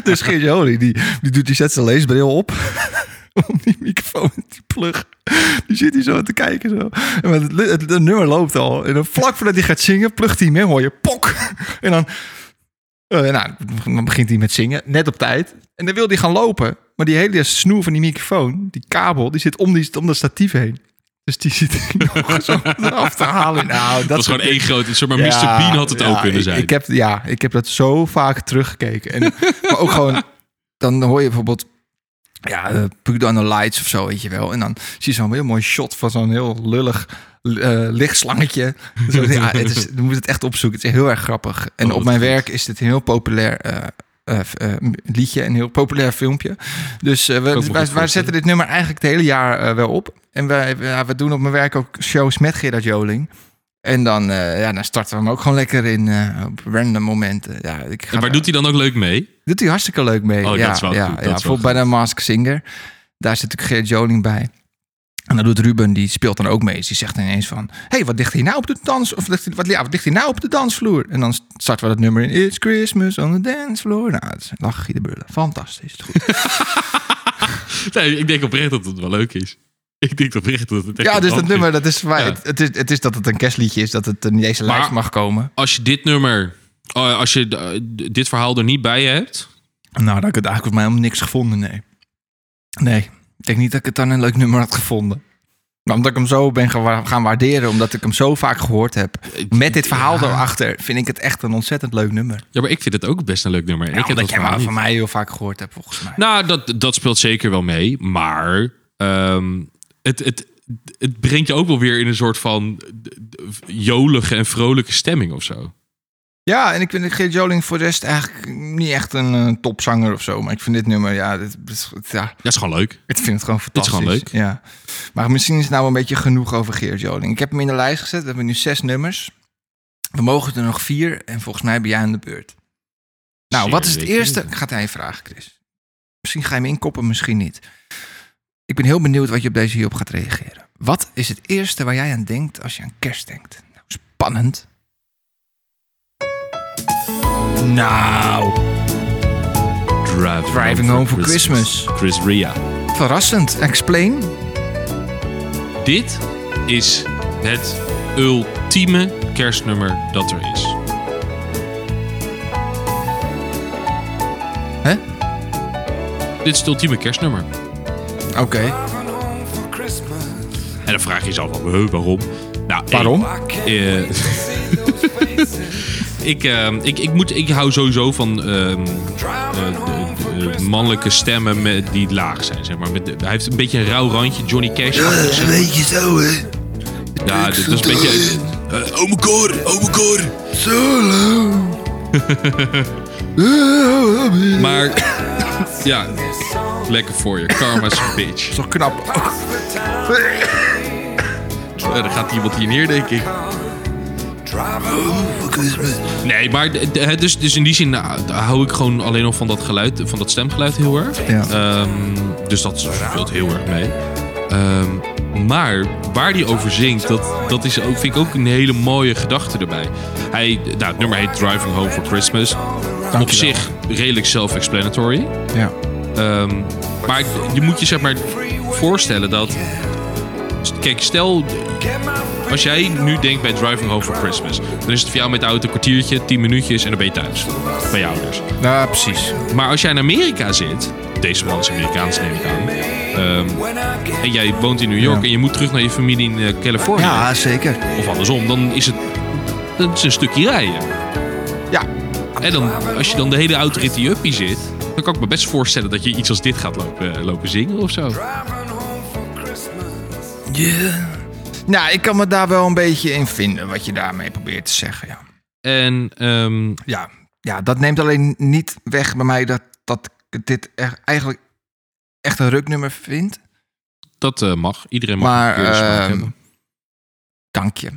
[SPEAKER 2] Dus Geert Joling, die, die, doet, die zet zijn leesbril op. *laughs* Om die microfoon met die plug. Die zit hier zo te kijken. Zo. En met het, lu- het, het nummer loopt al. En dan vlak voordat hij gaat zingen, plugt hij hem in. Hoor je pok. En dan, eh, nou, dan begint hij met zingen. Net op tijd. En dan wil hij gaan lopen. Maar die hele snoer van die microfoon, die kabel, die zit om, die, om dat statief heen. Dus die zit *laughs* ik nog eens af te halen. Nou, dat,
[SPEAKER 1] Dat is gewoon één groot... Zeg maar,
[SPEAKER 2] Ja,
[SPEAKER 1] Mr. Bean had het ook
[SPEAKER 2] ja,
[SPEAKER 1] kunnen
[SPEAKER 2] ik-
[SPEAKER 1] zijn.
[SPEAKER 2] Ik heb, ja, ik heb dat zo vaak teruggekeken. En, *laughs* maar ook gewoon, dan hoor je bijvoorbeeld... Ja, eh, Put on the Lights of zo, weet je wel. En dan zie je zo'n heel mooi shot van zo'n heel lullig eh, lichtslangetje. *laughs* Zo, ja, het is, je moet het echt opzoeken. Het is heel erg grappig. En
[SPEAKER 1] Oh, wat
[SPEAKER 2] op mijn
[SPEAKER 1] goed.
[SPEAKER 2] werk is dit een heel populair eh, eh, f- eh, m- liedje. Een heel populair filmpje. Dus
[SPEAKER 1] me
[SPEAKER 2] eh, we,
[SPEAKER 1] goed
[SPEAKER 2] wij, wij
[SPEAKER 1] voorstellen.
[SPEAKER 2] zetten dit nummer eigenlijk het hele jaar eh, wel op. En wij, ja, we doen op mijn werk ook shows met Gerard Joling. En dan, eh, ja, dan starten we hem ook gewoon lekker in eh, op random momenten. Ja, ik ga
[SPEAKER 1] En waar doet hij dan ook leuk mee?
[SPEAKER 2] doet hij hartstikke leuk mee.
[SPEAKER 1] Oh, dat
[SPEAKER 2] ja,
[SPEAKER 1] is wel
[SPEAKER 2] ja,
[SPEAKER 1] goed,
[SPEAKER 2] ja.
[SPEAKER 1] dat is wel
[SPEAKER 2] Bijvoorbeeld
[SPEAKER 1] goed.
[SPEAKER 2] bij de Mask Singer. Daar zit natuurlijk Geert Joling bij. En dan doet Ruben, die speelt dan ook mee. Dus die zegt ineens van... Hé, hey, wat ligt hier nou op de dans... Of ligt, wat, ja, wat ligt hier nou op de dansvloer? En dan starten we dat nummer in. It's Christmas on the dance floor. Nou, het is een lachje de bullen. Fantastisch. Het is
[SPEAKER 1] *laughs*
[SPEAKER 2] goed.
[SPEAKER 1] Nee, ik denk oprecht dat het wel leuk is. Ik denk oprecht dat het echt
[SPEAKER 2] ja, dus dat
[SPEAKER 1] grappig
[SPEAKER 2] nummer, dat is, waar-
[SPEAKER 1] Ja.
[SPEAKER 2] het, het is, het is dat het een kerstliedje is. Dat het in deze
[SPEAKER 1] Maar-
[SPEAKER 2] lijst mag komen.
[SPEAKER 1] is. Als je dit nummer... oh, als je eh, d- dit verhaal er niet bij je hebt...
[SPEAKER 2] Nou, dat ik het eigenlijk volgens mij helemaal niks gevonden, nee. Nee, ik denk niet dat ik het dan een leuk nummer had gevonden. Maar omdat ik hem zo ben gewa- gaan waarderen, omdat ik hem zo vaak gehoord heb. Met dit verhaal daarachter vind ik het echt een ontzettend leuk nummer.
[SPEAKER 1] Ja, maar ik vind het ook best een leuk nummer.
[SPEAKER 2] Ja,
[SPEAKER 1] ik heb
[SPEAKER 2] omdat
[SPEAKER 1] dat
[SPEAKER 2] Nou, jij
[SPEAKER 1] verhaal
[SPEAKER 2] hem
[SPEAKER 1] niet.
[SPEAKER 2] van mij heel vaak gehoord hebt, volgens mij.
[SPEAKER 1] Nou, dat, dat speelt zeker wel mee. Maar ehm, het, het, het brengt je ook wel weer in een soort van d- d- jolige en vrolijke stemming of zo.
[SPEAKER 2] Ja, en ik vind Geert Joling voor de rest eigenlijk niet echt een eh, topzanger of zo. Maar ik vind dit nummer, ja, dit, is- ja
[SPEAKER 1] Dat is gewoon leuk.
[SPEAKER 2] Ik vind het gewoon
[SPEAKER 1] is
[SPEAKER 2] fantastisch.
[SPEAKER 1] gewoon
[SPEAKER 2] Ja. Maar misschien is het nou wel een beetje genoeg over Geert Joling. Ik heb hem in de lijst gezet. We hebben nu zes nummers. We mogen er nog vier. En volgens mij ben jij aan de beurt. Nou,
[SPEAKER 1] Zeer
[SPEAKER 2] wat is het
[SPEAKER 1] zeker.
[SPEAKER 2] eerste? Ik ga het aan je vragen, Chris. Misschien ga je hem inkoppen, misschien niet. Ik ben heel benieuwd wat je op deze hierop gaat reageren. Wat is het eerste waar jij aan denkt als je aan kerst denkt? Nou, spannend. Nou,
[SPEAKER 1] Driving,
[SPEAKER 2] Driving Home for Christmas.
[SPEAKER 1] Chris Ria.
[SPEAKER 2] verrassend. Explain.
[SPEAKER 1] Dit is het ultieme kerstnummer dat er is.
[SPEAKER 2] Hè?
[SPEAKER 1] Dit is het ultieme kerstnummer.
[SPEAKER 2] Oké.
[SPEAKER 1] En dan vraag je jezelf af, huh, waarom? Nou, één,
[SPEAKER 2] Waarom?
[SPEAKER 1] eh, *laughs* ik, ehm, ik, ik, moet, ik hou sowieso van ehm, eh, de- de mannelijke stemmen met, die laag zijn. Zeg maar. met, hij heeft een beetje een rauw randje, Johnny Cash. Ja, een beetje zo, hè? Ja, dit is een beetje... eh, oh mijn god, oh mijn god. *laughs* Solo. maar, ja, lekker voor je. Karma's a bitch.
[SPEAKER 2] Zo knap.
[SPEAKER 1] Ja, Eh, dan gaat iemand hier neer, denk ik. Nee, maar d- d- hè, dus, dus in die zin nou, hou ik gewoon alleen nog van dat geluid, van dat stemgeluid heel erg.
[SPEAKER 2] Ja.
[SPEAKER 1] Ehm, dus dat speelt heel erg mee. Ehm, maar waar die over zingt, dat, dat is ook, vind ik ook een hele mooie gedachte erbij. Hij, nou, het nummer heet Driving Home for Christmas. Op zich redelijk self-explanatory.
[SPEAKER 2] Ja.
[SPEAKER 1] Ehm, maar je moet je zeg maar voorstellen dat. Kijk, stel. *laughs* Als jij nu denkt bij Driving Home for Christmas. dan is het voor jou met de auto een kwartiertje, 10 minuutjes en dan ben je thuis. Bij je ouders.
[SPEAKER 2] Ja, precies.
[SPEAKER 1] Maar als jij in Amerika zit. Deze man is Amerikaans, neem ik aan. ehm, en jij woont in New York
[SPEAKER 2] Ja.
[SPEAKER 1] en je moet terug naar je familie in eh, Californië.
[SPEAKER 2] Ja, zeker.
[SPEAKER 1] Of andersom, dan is het. Dat is een stukje rijden.
[SPEAKER 2] Ja.
[SPEAKER 1] En dan, als je dan de hele autorit in Uppie zit, dan kan ik me best voorstellen dat je iets als dit gaat lopen, eh, lopen zingen of zo.
[SPEAKER 2] Nou, ik kan me daar wel een beetje in vinden wat je daarmee probeert te zeggen. Ja,
[SPEAKER 1] En ehm,
[SPEAKER 2] ja. ja dat neemt alleen niet weg bij mij dat, dat ik dit echt, eigenlijk echt een ruknummer vind.
[SPEAKER 1] dat eh, mag. Iedereen mag
[SPEAKER 2] Maar,
[SPEAKER 1] een keer
[SPEAKER 2] ehm, Dank je.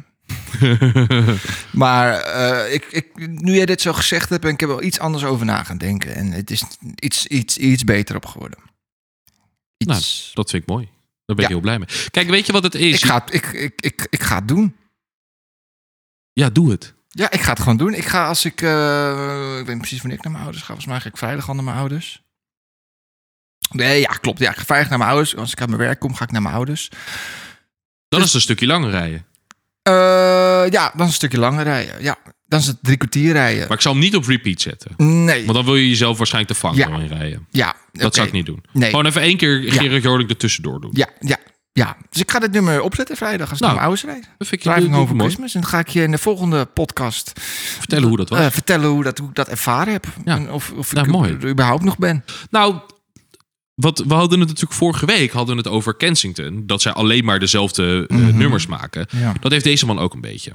[SPEAKER 2] ehm,
[SPEAKER 1] *laughs*
[SPEAKER 2] Maar eh, ik, ik, nu jij dit zo gezegd hebt, ben ik er wel iets anders over na gaan denken. En het is iets, iets, iets beter op geworden.
[SPEAKER 1] nou,
[SPEAKER 2] Iets.
[SPEAKER 1] dat vind ik mooi. Daar ben ik
[SPEAKER 2] Ja.
[SPEAKER 1] heel blij mee. Kijk, weet je wat het is?
[SPEAKER 2] ik, ga, het- ik, ik, ik, ik ga het doen.
[SPEAKER 1] Ja, doe het.
[SPEAKER 2] Ja, ik ga het gewoon doen. Ik ga als ik. eh, ik weet niet precies wanneer ik naar mijn ouders ga. Volgens mij ga ik vrijdag al naar mijn ouders. Nee, ja, klopt. Ja, ik ga vrijdag naar mijn ouders. Als ik uit mijn werk kom, ga ik naar mijn ouders. Dus-
[SPEAKER 1] Dan is het een stukje langer rijden.
[SPEAKER 2] Eh, ja, dan is het een stukje langer rijden. Ja, dan is het drie kwartier rijden.
[SPEAKER 1] Maar ik zal hem niet op repeat zetten.
[SPEAKER 2] Nee.
[SPEAKER 1] Want dan wil je jezelf waarschijnlijk te vangen
[SPEAKER 2] Ja.
[SPEAKER 1] in rijden.
[SPEAKER 2] Ja,
[SPEAKER 1] Dat zou ik niet doen.
[SPEAKER 2] Nee.
[SPEAKER 1] Gewoon even één keer Gerard Joling ertussendoor doen.
[SPEAKER 2] Ja, ja. Ja, dus ik ga dit nummer opzetten vrijdag als ik
[SPEAKER 1] Nou,
[SPEAKER 2] naar mijn ouders rijd.
[SPEAKER 1] Dat vind ik heel
[SPEAKER 2] Driving
[SPEAKER 1] mooi.
[SPEAKER 2] Over Christmas. En dan ga ik je in de volgende podcast
[SPEAKER 1] Vertellen hoe dat was.
[SPEAKER 2] eh, vertellen hoe, dat, hoe ik dat ervaren heb.
[SPEAKER 1] Ja.
[SPEAKER 2] En of of
[SPEAKER 1] Nou,
[SPEAKER 2] ik
[SPEAKER 1] mooi.
[SPEAKER 2] er überhaupt nog ben.
[SPEAKER 1] Nou, wat, we hadden het natuurlijk vorige week hadden we het over Kensington. Dat zij alleen maar dezelfde eh, nummers maken.
[SPEAKER 2] Mhm. Ja.
[SPEAKER 1] Dat heeft deze man ook een beetje.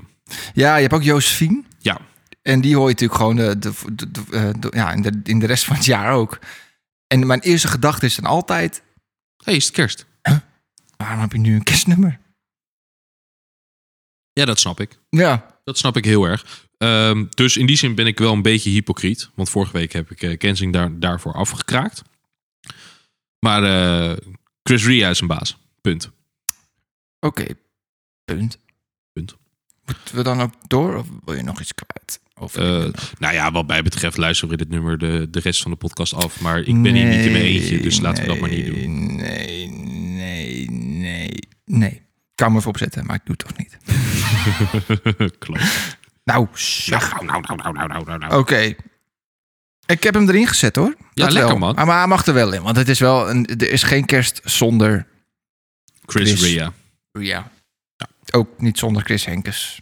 [SPEAKER 2] Ja, je hebt ook Josephine.
[SPEAKER 1] Ja,
[SPEAKER 2] En die hoor je natuurlijk gewoon de, de, de- de- eh, de- ja, in, de, in de rest van het jaar ook. En mijn eerste gedachte is dan altijd...
[SPEAKER 1] hey, is het kerst?
[SPEAKER 2] waarom heb je nu een kerstnummer?
[SPEAKER 1] Ja, dat snap ik.
[SPEAKER 2] Ja,
[SPEAKER 1] Dat snap ik heel erg. Ehm, dus in die zin ben ik wel een beetje hypocriet. Want vorige week heb ik eh, Kensing daar, daarvoor afgekraakt. Maar eh, Chris Ria is een baas. Punt.
[SPEAKER 2] oké. Punt.
[SPEAKER 1] Punt.
[SPEAKER 2] Moeten we dan ook door of wil je nog iets kwijt? Of
[SPEAKER 1] Eh, nou ja, wat mij betreft luisteren we dit nummer de, de rest van de podcast af. Maar ik ben hier niet in mijn eentje, dus laten we dat maar niet doen.
[SPEAKER 2] Nee, nee, nee, nee. Ik kan me even opzetten, maar ik doe het toch niet.
[SPEAKER 1] *laughs* Klopt.
[SPEAKER 2] Nou, zeg.
[SPEAKER 1] Nou, nou, nou, nou, nou, nou, nou.
[SPEAKER 2] Oké. Ik heb hem erin gezet hoor.
[SPEAKER 1] Ja,
[SPEAKER 2] Dat
[SPEAKER 1] lekker,
[SPEAKER 2] wel.
[SPEAKER 1] man.
[SPEAKER 2] Ah, Maar hij mag er wel in, want het is wel een, er is geen kerst zonder
[SPEAKER 1] Chris,
[SPEAKER 2] Chris.
[SPEAKER 1] Ria.
[SPEAKER 2] Ja. Ook niet zonder Chris Henkes.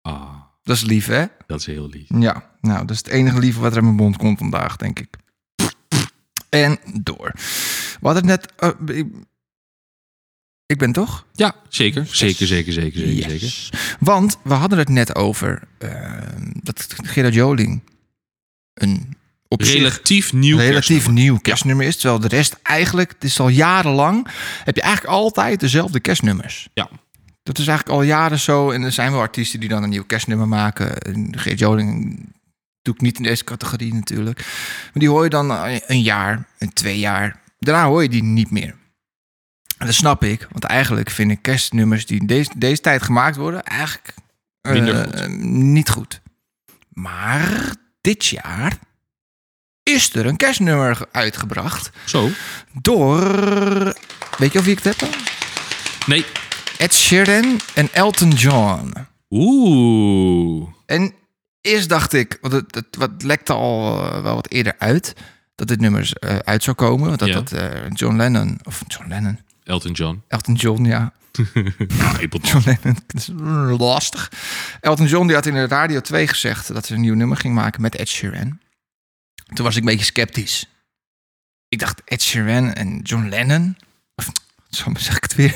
[SPEAKER 1] Ah,
[SPEAKER 2] Dat is lief, hè?
[SPEAKER 1] dat is heel lief.
[SPEAKER 2] Ja. Nou, dat is het enige lieve wat er in mijn mond komt vandaag, denk ik. En door. We hadden het net... eh, ik, ik ben toch?
[SPEAKER 1] Ja, zeker. Zeker, zeker, zeker, zeker. zeker.
[SPEAKER 2] Yes. Want we hadden het net over eh, dat Gerard Joling een op zich
[SPEAKER 1] Relatief nieuw
[SPEAKER 2] relatief
[SPEAKER 1] kerstnummer.
[SPEAKER 2] nieuw kerstnummer is. Terwijl de rest eigenlijk, het is al jarenlang, heb je eigenlijk altijd dezelfde kerstnummers.
[SPEAKER 1] Ja.
[SPEAKER 2] Dat is eigenlijk al jaren zo. En er zijn wel artiesten die dan een nieuw kerstnummer maken. En Geert Joling doe ik niet in deze categorie natuurlijk. Maar die hoor je dan eh, een jaar, een twee jaar. Daarna hoor je die niet meer. En dat snap ik, want eigenlijk vind ik kerstnummers die in deze, deze tijd gemaakt worden eigenlijk eh,
[SPEAKER 1] Minder goed.
[SPEAKER 2] eh, niet goed. Maar dit jaar is er een kerstnummer ge- uitgebracht
[SPEAKER 1] Zo.
[SPEAKER 2] door... Weet je of wie ik het heb? dan?
[SPEAKER 1] Nee.
[SPEAKER 2] Ed Sheeran en Elton John.
[SPEAKER 1] Oeh.
[SPEAKER 2] En eerst dacht ik, want het, het, wat lekte al eh, wel wat eerder uit, dat dit nummer eh, uit zou komen. want Dat,
[SPEAKER 1] Ja.
[SPEAKER 2] dat eh, John Lennon, of John Lennon,
[SPEAKER 1] Elton John. Ah,
[SPEAKER 2] Elton John, ja. *laughs*
[SPEAKER 1] Appleton.
[SPEAKER 2] John Lennon, dat is lastig. Elton John die had in de Radio 2 gezegd dat ze een nieuw nummer ging maken met Ed Sheeran. Toen was ik een beetje sceptisch. Ik dacht, Ed Sheeran en John Lennon... Of, Zo zeg ik het
[SPEAKER 1] *laughs*
[SPEAKER 2] weer.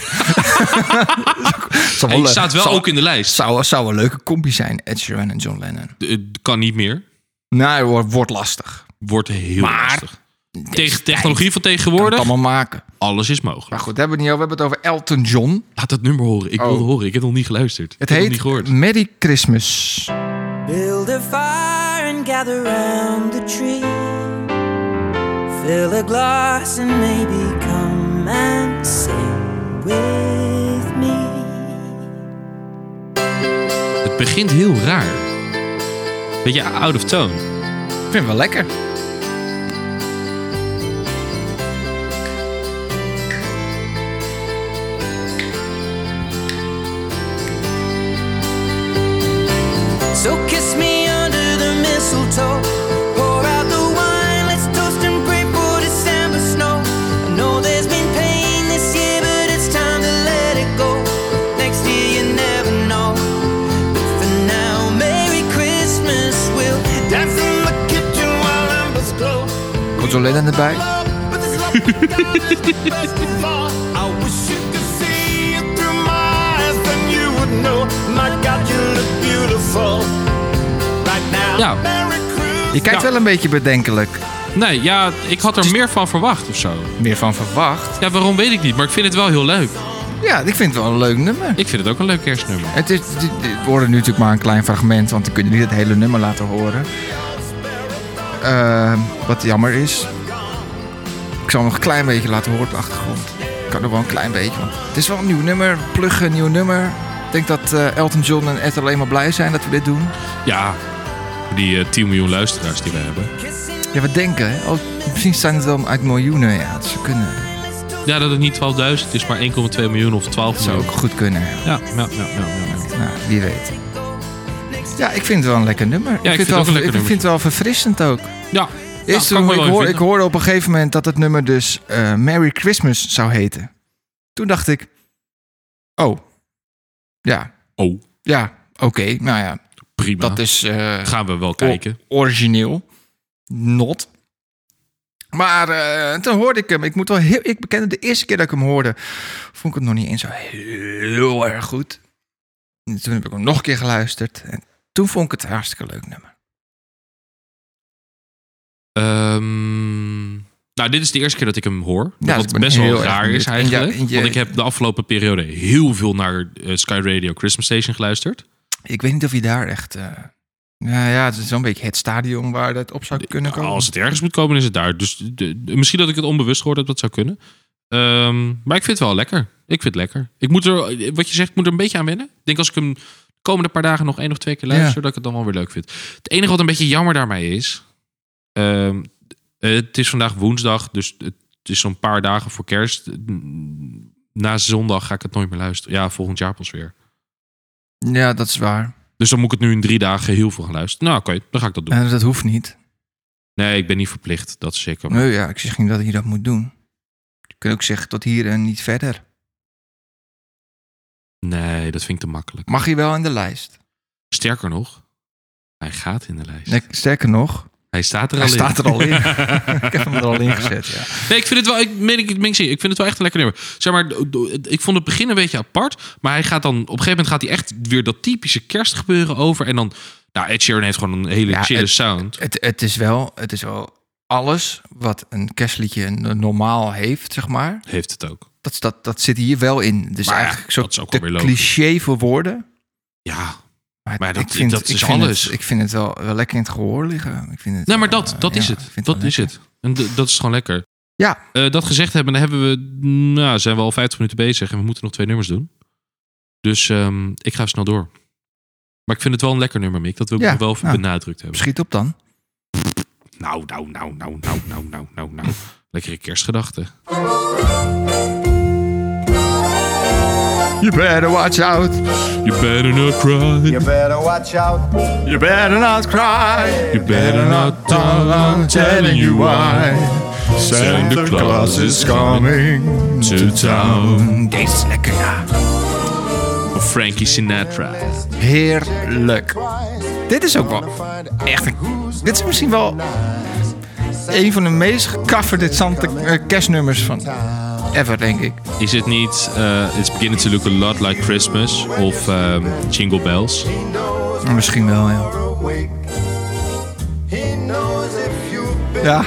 [SPEAKER 2] Zou
[SPEAKER 1] Hij
[SPEAKER 2] leuk-
[SPEAKER 1] staat wel
[SPEAKER 2] zou-
[SPEAKER 1] ook in de lijst.
[SPEAKER 2] Zou, zou een leuke combi zijn, Ed Sheeran en John Lennon.
[SPEAKER 1] Het kan niet meer.
[SPEAKER 2] Nou, wordt, wordt lastig.
[SPEAKER 1] Wordt heel
[SPEAKER 2] Maar-
[SPEAKER 1] lastig. Tegen
[SPEAKER 2] Deze
[SPEAKER 1] technologie
[SPEAKER 2] tijd
[SPEAKER 1] van
[SPEAKER 2] kan het
[SPEAKER 1] tegenwoordig,
[SPEAKER 2] allemaal maken.
[SPEAKER 1] alles is
[SPEAKER 2] Maar
[SPEAKER 1] mogelijk.
[SPEAKER 2] goed, daar hebben we het niet over. We hebben het over Elton John.
[SPEAKER 1] Laat dat nummer horen. Ik
[SPEAKER 2] Oh.
[SPEAKER 1] wil het horen. Ik heb het nog niet geluisterd.
[SPEAKER 2] Het
[SPEAKER 1] ik heb
[SPEAKER 2] heet
[SPEAKER 1] nog niet gehoord.
[SPEAKER 2] Merry Christmas.
[SPEAKER 4] Build a fire and gather round the tree. Fill a glass and maybe come and sing with me.
[SPEAKER 1] Het begint heel raar. Beetje out of tone.
[SPEAKER 2] Ik vind het wel lekker.
[SPEAKER 4] So kiss me under the mistletoe. Pour out the wine, let's toast and pray for December snow. I know there's been pain this year, but it's time to let it go. Next year you never know. But for now, Merry Christmas. We'll dance in the kitchen while numbers glow.
[SPEAKER 2] Komt John Lennon erbij?
[SPEAKER 4] But this love we got is the best of all. I wish you could see it through my eyes, then you would know. My God, you look beautiful right now.
[SPEAKER 1] Ja.
[SPEAKER 4] Merry
[SPEAKER 2] Je
[SPEAKER 4] Christmas.
[SPEAKER 1] Ja.
[SPEAKER 2] kijkt wel een beetje bedenkelijk.
[SPEAKER 1] Nee, ja, ik had er meer van verwacht of zo.
[SPEAKER 2] Meer van verwacht.
[SPEAKER 1] Ja, waarom weet ik niet, maar ik vind het wel heel leuk.
[SPEAKER 2] Ja, ik vind het wel een leuk nummer.
[SPEAKER 1] Ik vind het ook een leuk kerstnummer.
[SPEAKER 2] Het is, dit- dit- we horen nu natuurlijk maar een klein fragment, want dan kun je niet het hele nummer laten horen. Ehm, wat jammer is. Ik zal hem nog een klein beetje laten horen op de achtergrond. Ik kan er wel een klein beetje. Want het is wel een nieuw nummer, pluggen, een nieuw nummer. Ik denk dat eh, Elton John en Ed alleen maar blij zijn dat we dit doen.
[SPEAKER 1] Ja, die eh, 10 miljoen luisteraars die we hebben.
[SPEAKER 2] Ja, we denken, hè? Oh, misschien zijn het wel uit miljoenen. Ja, dat zou kunnen.
[SPEAKER 1] Ja, dat het niet 12.000 is, maar 1,2 miljoen of 12
[SPEAKER 2] Dat zou
[SPEAKER 1] miljoen.
[SPEAKER 2] ook goed kunnen.
[SPEAKER 1] Ja, ja, ja, ja, ja, ja.
[SPEAKER 2] Nou, wie weet. Ja, ik vind het wel een lekker nummer.
[SPEAKER 1] ik vind het
[SPEAKER 2] wel,
[SPEAKER 1] ook een lekker
[SPEAKER 2] ik
[SPEAKER 1] nummer.
[SPEAKER 2] vind het wel verfrissend ook.
[SPEAKER 1] Ja,
[SPEAKER 2] Eerst
[SPEAKER 1] Ja, kan
[SPEAKER 2] toen
[SPEAKER 1] me
[SPEAKER 2] ik,
[SPEAKER 1] wel in
[SPEAKER 2] hoor, ik
[SPEAKER 1] vinden.
[SPEAKER 2] hoorde op een gegeven moment dat het nummer dus eh, Merry Christmas zou heten. Toen dacht ik, Oh. Ja.
[SPEAKER 1] Oh,
[SPEAKER 2] Ja. Oké. Nou ja,
[SPEAKER 1] prima.
[SPEAKER 2] dat is... eh,
[SPEAKER 1] Gaan we wel kijken.
[SPEAKER 2] O- origineel. Not. Maar eh, toen hoorde ik hem. Ik moet wel heel. Ik bekende de eerste keer dat ik hem hoorde. Vond ik hem nog niet eens zo heel erg goed. En toen heb ik hem nog een keer geluisterd. En toen vond ik het een hartstikke leuk nummer.
[SPEAKER 1] Ehm, nou, dit is de eerste keer dat ik hem hoor.
[SPEAKER 2] Ja, dus ik
[SPEAKER 1] wat
[SPEAKER 2] ben
[SPEAKER 1] best wel
[SPEAKER 2] heel erg
[SPEAKER 1] raar
[SPEAKER 2] benieuwd.
[SPEAKER 1] is eigenlijk.
[SPEAKER 2] En ja, en je-
[SPEAKER 1] want ik heb de afgelopen periode heel veel naar eh, Sky Radio Christmas Station geluisterd.
[SPEAKER 2] Ik weet niet of je daar echt. eh, nou ja, het is zo'n beetje het stadion waar dat op zou kunnen Nou, komen.
[SPEAKER 1] Nou, Als het ergens moet komen, is het daar. Dus de- de- misschien dat ik het onbewust gehoord heb, dat zou kunnen. Ehm, maar ik vind het wel lekker. Ik vind het lekker. Ik moet er, wat je zegt, ik moet er een beetje aan wennen. Ik denk als ik hem de komende paar dagen nog één of twee keer luister,
[SPEAKER 2] Ja.
[SPEAKER 1] dat ik het dan wel weer leuk vind. Het enige wat een beetje jammer daarmee is, ehm, het is vandaag woensdag, dus het is zo'n paar dagen voor kerst. Na zondag ga ik het nooit meer luisteren. Ja, volgend jaar pas weer.
[SPEAKER 2] Ja, dat is waar.
[SPEAKER 1] Dus dan moet ik het nu in drie dagen heel veel gaan luisteren. Nou, oké, dan ga ik dat doen.
[SPEAKER 2] Eh, dat hoeft niet.
[SPEAKER 1] Nee, ik ben niet verplicht. Dat is zeker.
[SPEAKER 2] Nee, ja, ik zeg niet dat je dat moet doen. Je kunt ook zeggen tot hier en niet verder.
[SPEAKER 1] Nee, dat vind ik te makkelijk.
[SPEAKER 2] Mag je wel in de lijst?
[SPEAKER 1] Sterker nog, hij gaat in de lijst.
[SPEAKER 2] Nee, sterker nog,
[SPEAKER 1] hij staat er al
[SPEAKER 2] Hij
[SPEAKER 1] in.
[SPEAKER 2] staat er
[SPEAKER 1] *laughs*
[SPEAKER 2] al in. ik heb hem er al in gezet, ja.
[SPEAKER 1] Nee, ik vind het wel, ik meen ik, ik, meen ik, serieus, ik vind het wel echt een lekker nummer. Zeg maar, do- do- ik vond het begin een beetje apart, maar hij gaat dan, op een gegeven moment gaat hij echt weer dat typische kerstgebeuren over en dan, nou, Ed Sheeran heeft gewoon een hele
[SPEAKER 2] Ja,
[SPEAKER 1] chille
[SPEAKER 2] het-
[SPEAKER 1] sound.
[SPEAKER 2] Het, het, is wel, het is wel alles wat een kerstliedje n- normaal heeft, zeg maar.
[SPEAKER 1] Heeft het ook.
[SPEAKER 2] Dat, dat, dat zit hier wel in. Dus
[SPEAKER 1] Maar ja,
[SPEAKER 2] eigenlijk zo
[SPEAKER 1] dat is ook
[SPEAKER 2] te
[SPEAKER 1] alweer logisch.
[SPEAKER 2] cliché voor woorden.
[SPEAKER 1] Ja.
[SPEAKER 2] Maar,
[SPEAKER 1] Maar
[SPEAKER 2] ik
[SPEAKER 1] dat-
[SPEAKER 2] vind,
[SPEAKER 1] dat
[SPEAKER 2] ik
[SPEAKER 1] is
[SPEAKER 2] vind
[SPEAKER 1] alles.
[SPEAKER 2] Het, ik vind het wel, wel lekker in het gehoor liggen. Ik vind het,
[SPEAKER 1] Nee, maar
[SPEAKER 2] eh,
[SPEAKER 1] dat, dat
[SPEAKER 2] ja,
[SPEAKER 1] is
[SPEAKER 2] ik
[SPEAKER 1] het.
[SPEAKER 2] vind
[SPEAKER 1] Dat
[SPEAKER 2] wel
[SPEAKER 1] is
[SPEAKER 2] lekker.
[SPEAKER 1] het. En d- dat is gewoon lekker.
[SPEAKER 2] Ja,
[SPEAKER 1] Eh, dat gezegd hebben, dan hebben we, nou, zijn we al 50 minuten bezig en we moeten nog twee nummers doen. Dus ehm, ik ga snel door. Maar ik vind het wel een lekker nummer, Mick. Dat wil ik
[SPEAKER 2] Ja,
[SPEAKER 1] nog wel even
[SPEAKER 2] nou.
[SPEAKER 1] benadrukt hebben.
[SPEAKER 2] schiet op dan.
[SPEAKER 1] Nou, nou, nou, nou, nou, nou, nou, nou, nou. Lekkere kerstgedachten.
[SPEAKER 2] You better watch out.
[SPEAKER 1] You better not cry.
[SPEAKER 7] You better watch out.
[SPEAKER 2] You better not cry.
[SPEAKER 1] You better not tell. I'm telling you why. Santa Claus is
[SPEAKER 2] coming
[SPEAKER 1] to town.
[SPEAKER 2] Mm, Deze is lekker, ja.
[SPEAKER 1] Of Frankie Sinatra.
[SPEAKER 2] Heerlijk. Dit is ook wel echt een, Dit is misschien wel een van de meest gecoverde Santa eh, kerstnummers van ever, denk ik.
[SPEAKER 1] Is het niet eh, It's Beginning to Look a Lot Like Christmas of ehm, Jingle Bells?
[SPEAKER 2] Misschien wel, ja. Ja,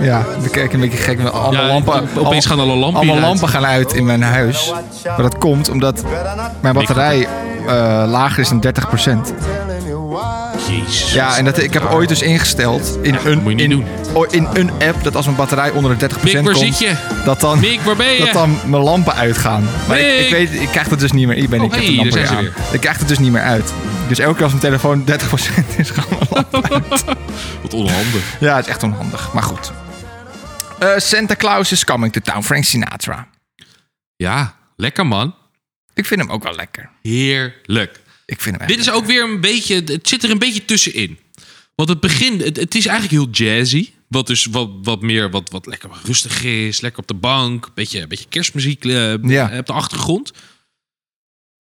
[SPEAKER 2] ja. We kijken een beetje gek. met Alle
[SPEAKER 1] Ja,
[SPEAKER 2] lampen,
[SPEAKER 1] opeens
[SPEAKER 2] alle-
[SPEAKER 1] gaan alle lampen
[SPEAKER 2] allemaal
[SPEAKER 1] hier uit.
[SPEAKER 2] lampen gaan uit in mijn huis. Maar dat komt omdat mijn batterij eh, lager is dan 30%.
[SPEAKER 1] Jezus.
[SPEAKER 2] Ja, en dat, ik heb ooit dus ingesteld in, een,
[SPEAKER 1] moet je niet
[SPEAKER 2] in,
[SPEAKER 1] doen.
[SPEAKER 2] o- in een app dat als mijn batterij onder de 30%
[SPEAKER 1] Mick, waar
[SPEAKER 2] komt,
[SPEAKER 1] zit je?
[SPEAKER 2] Dat, dan,
[SPEAKER 1] Mick, waar ben je?
[SPEAKER 2] dat dan mijn lampen uitgaan. Maar ik,
[SPEAKER 1] Mick!
[SPEAKER 2] ik, weet, ik krijg dat dus niet meer. Ik ben
[SPEAKER 1] Oh,
[SPEAKER 2] ik heb de
[SPEAKER 1] hey,
[SPEAKER 2] lampen
[SPEAKER 1] daar
[SPEAKER 2] weer
[SPEAKER 1] zijn ze
[SPEAKER 2] aan. Ik krijg het dus niet meer uit. Dus elke keer als mijn telefoon 30% is, gaan mijn lampen.
[SPEAKER 1] Wat onhandig.
[SPEAKER 2] Ja, het is echt onhandig. Maar goed. Eh, Santa Claus is coming to town. Frank Sinatra.
[SPEAKER 1] Ja, lekker man.
[SPEAKER 2] Ik vind hem ook wel lekker.
[SPEAKER 1] Heerlijk.
[SPEAKER 2] Ik vind hem echt
[SPEAKER 1] Dit is ook weer een beetje, het zit er een beetje tussenin. Want het begin, het, het is eigenlijk heel jazzy. Wat dus wat, wat meer, wat, wat lekker rustig is, lekker op de bank. Beetje, beetje kerstmuziek eh,
[SPEAKER 2] Ja.
[SPEAKER 1] op de achtergrond.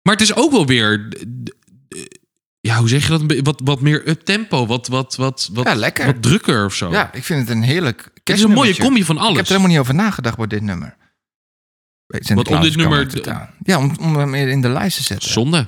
[SPEAKER 1] Maar het is ook wel weer, eh, eh, ja, hoe zeg je dat? Een be- Wat, wat meer uptempo, wat, wat, wat, wat,
[SPEAKER 2] Ja, lekker.
[SPEAKER 1] wat drukker of zo.
[SPEAKER 2] Ja, ik vind het een heerlijk
[SPEAKER 1] het is een mooie
[SPEAKER 2] kerstnummertje.
[SPEAKER 1] combi van alles.
[SPEAKER 2] Ik heb er helemaal niet over nagedacht bij dit nummer. Weet, Santa
[SPEAKER 1] Wat, om
[SPEAKER 2] Claus
[SPEAKER 1] dit
[SPEAKER 2] is coming
[SPEAKER 1] nummer-
[SPEAKER 2] to town. Ja, om, om hem in de lijst te zetten.
[SPEAKER 1] Zonde.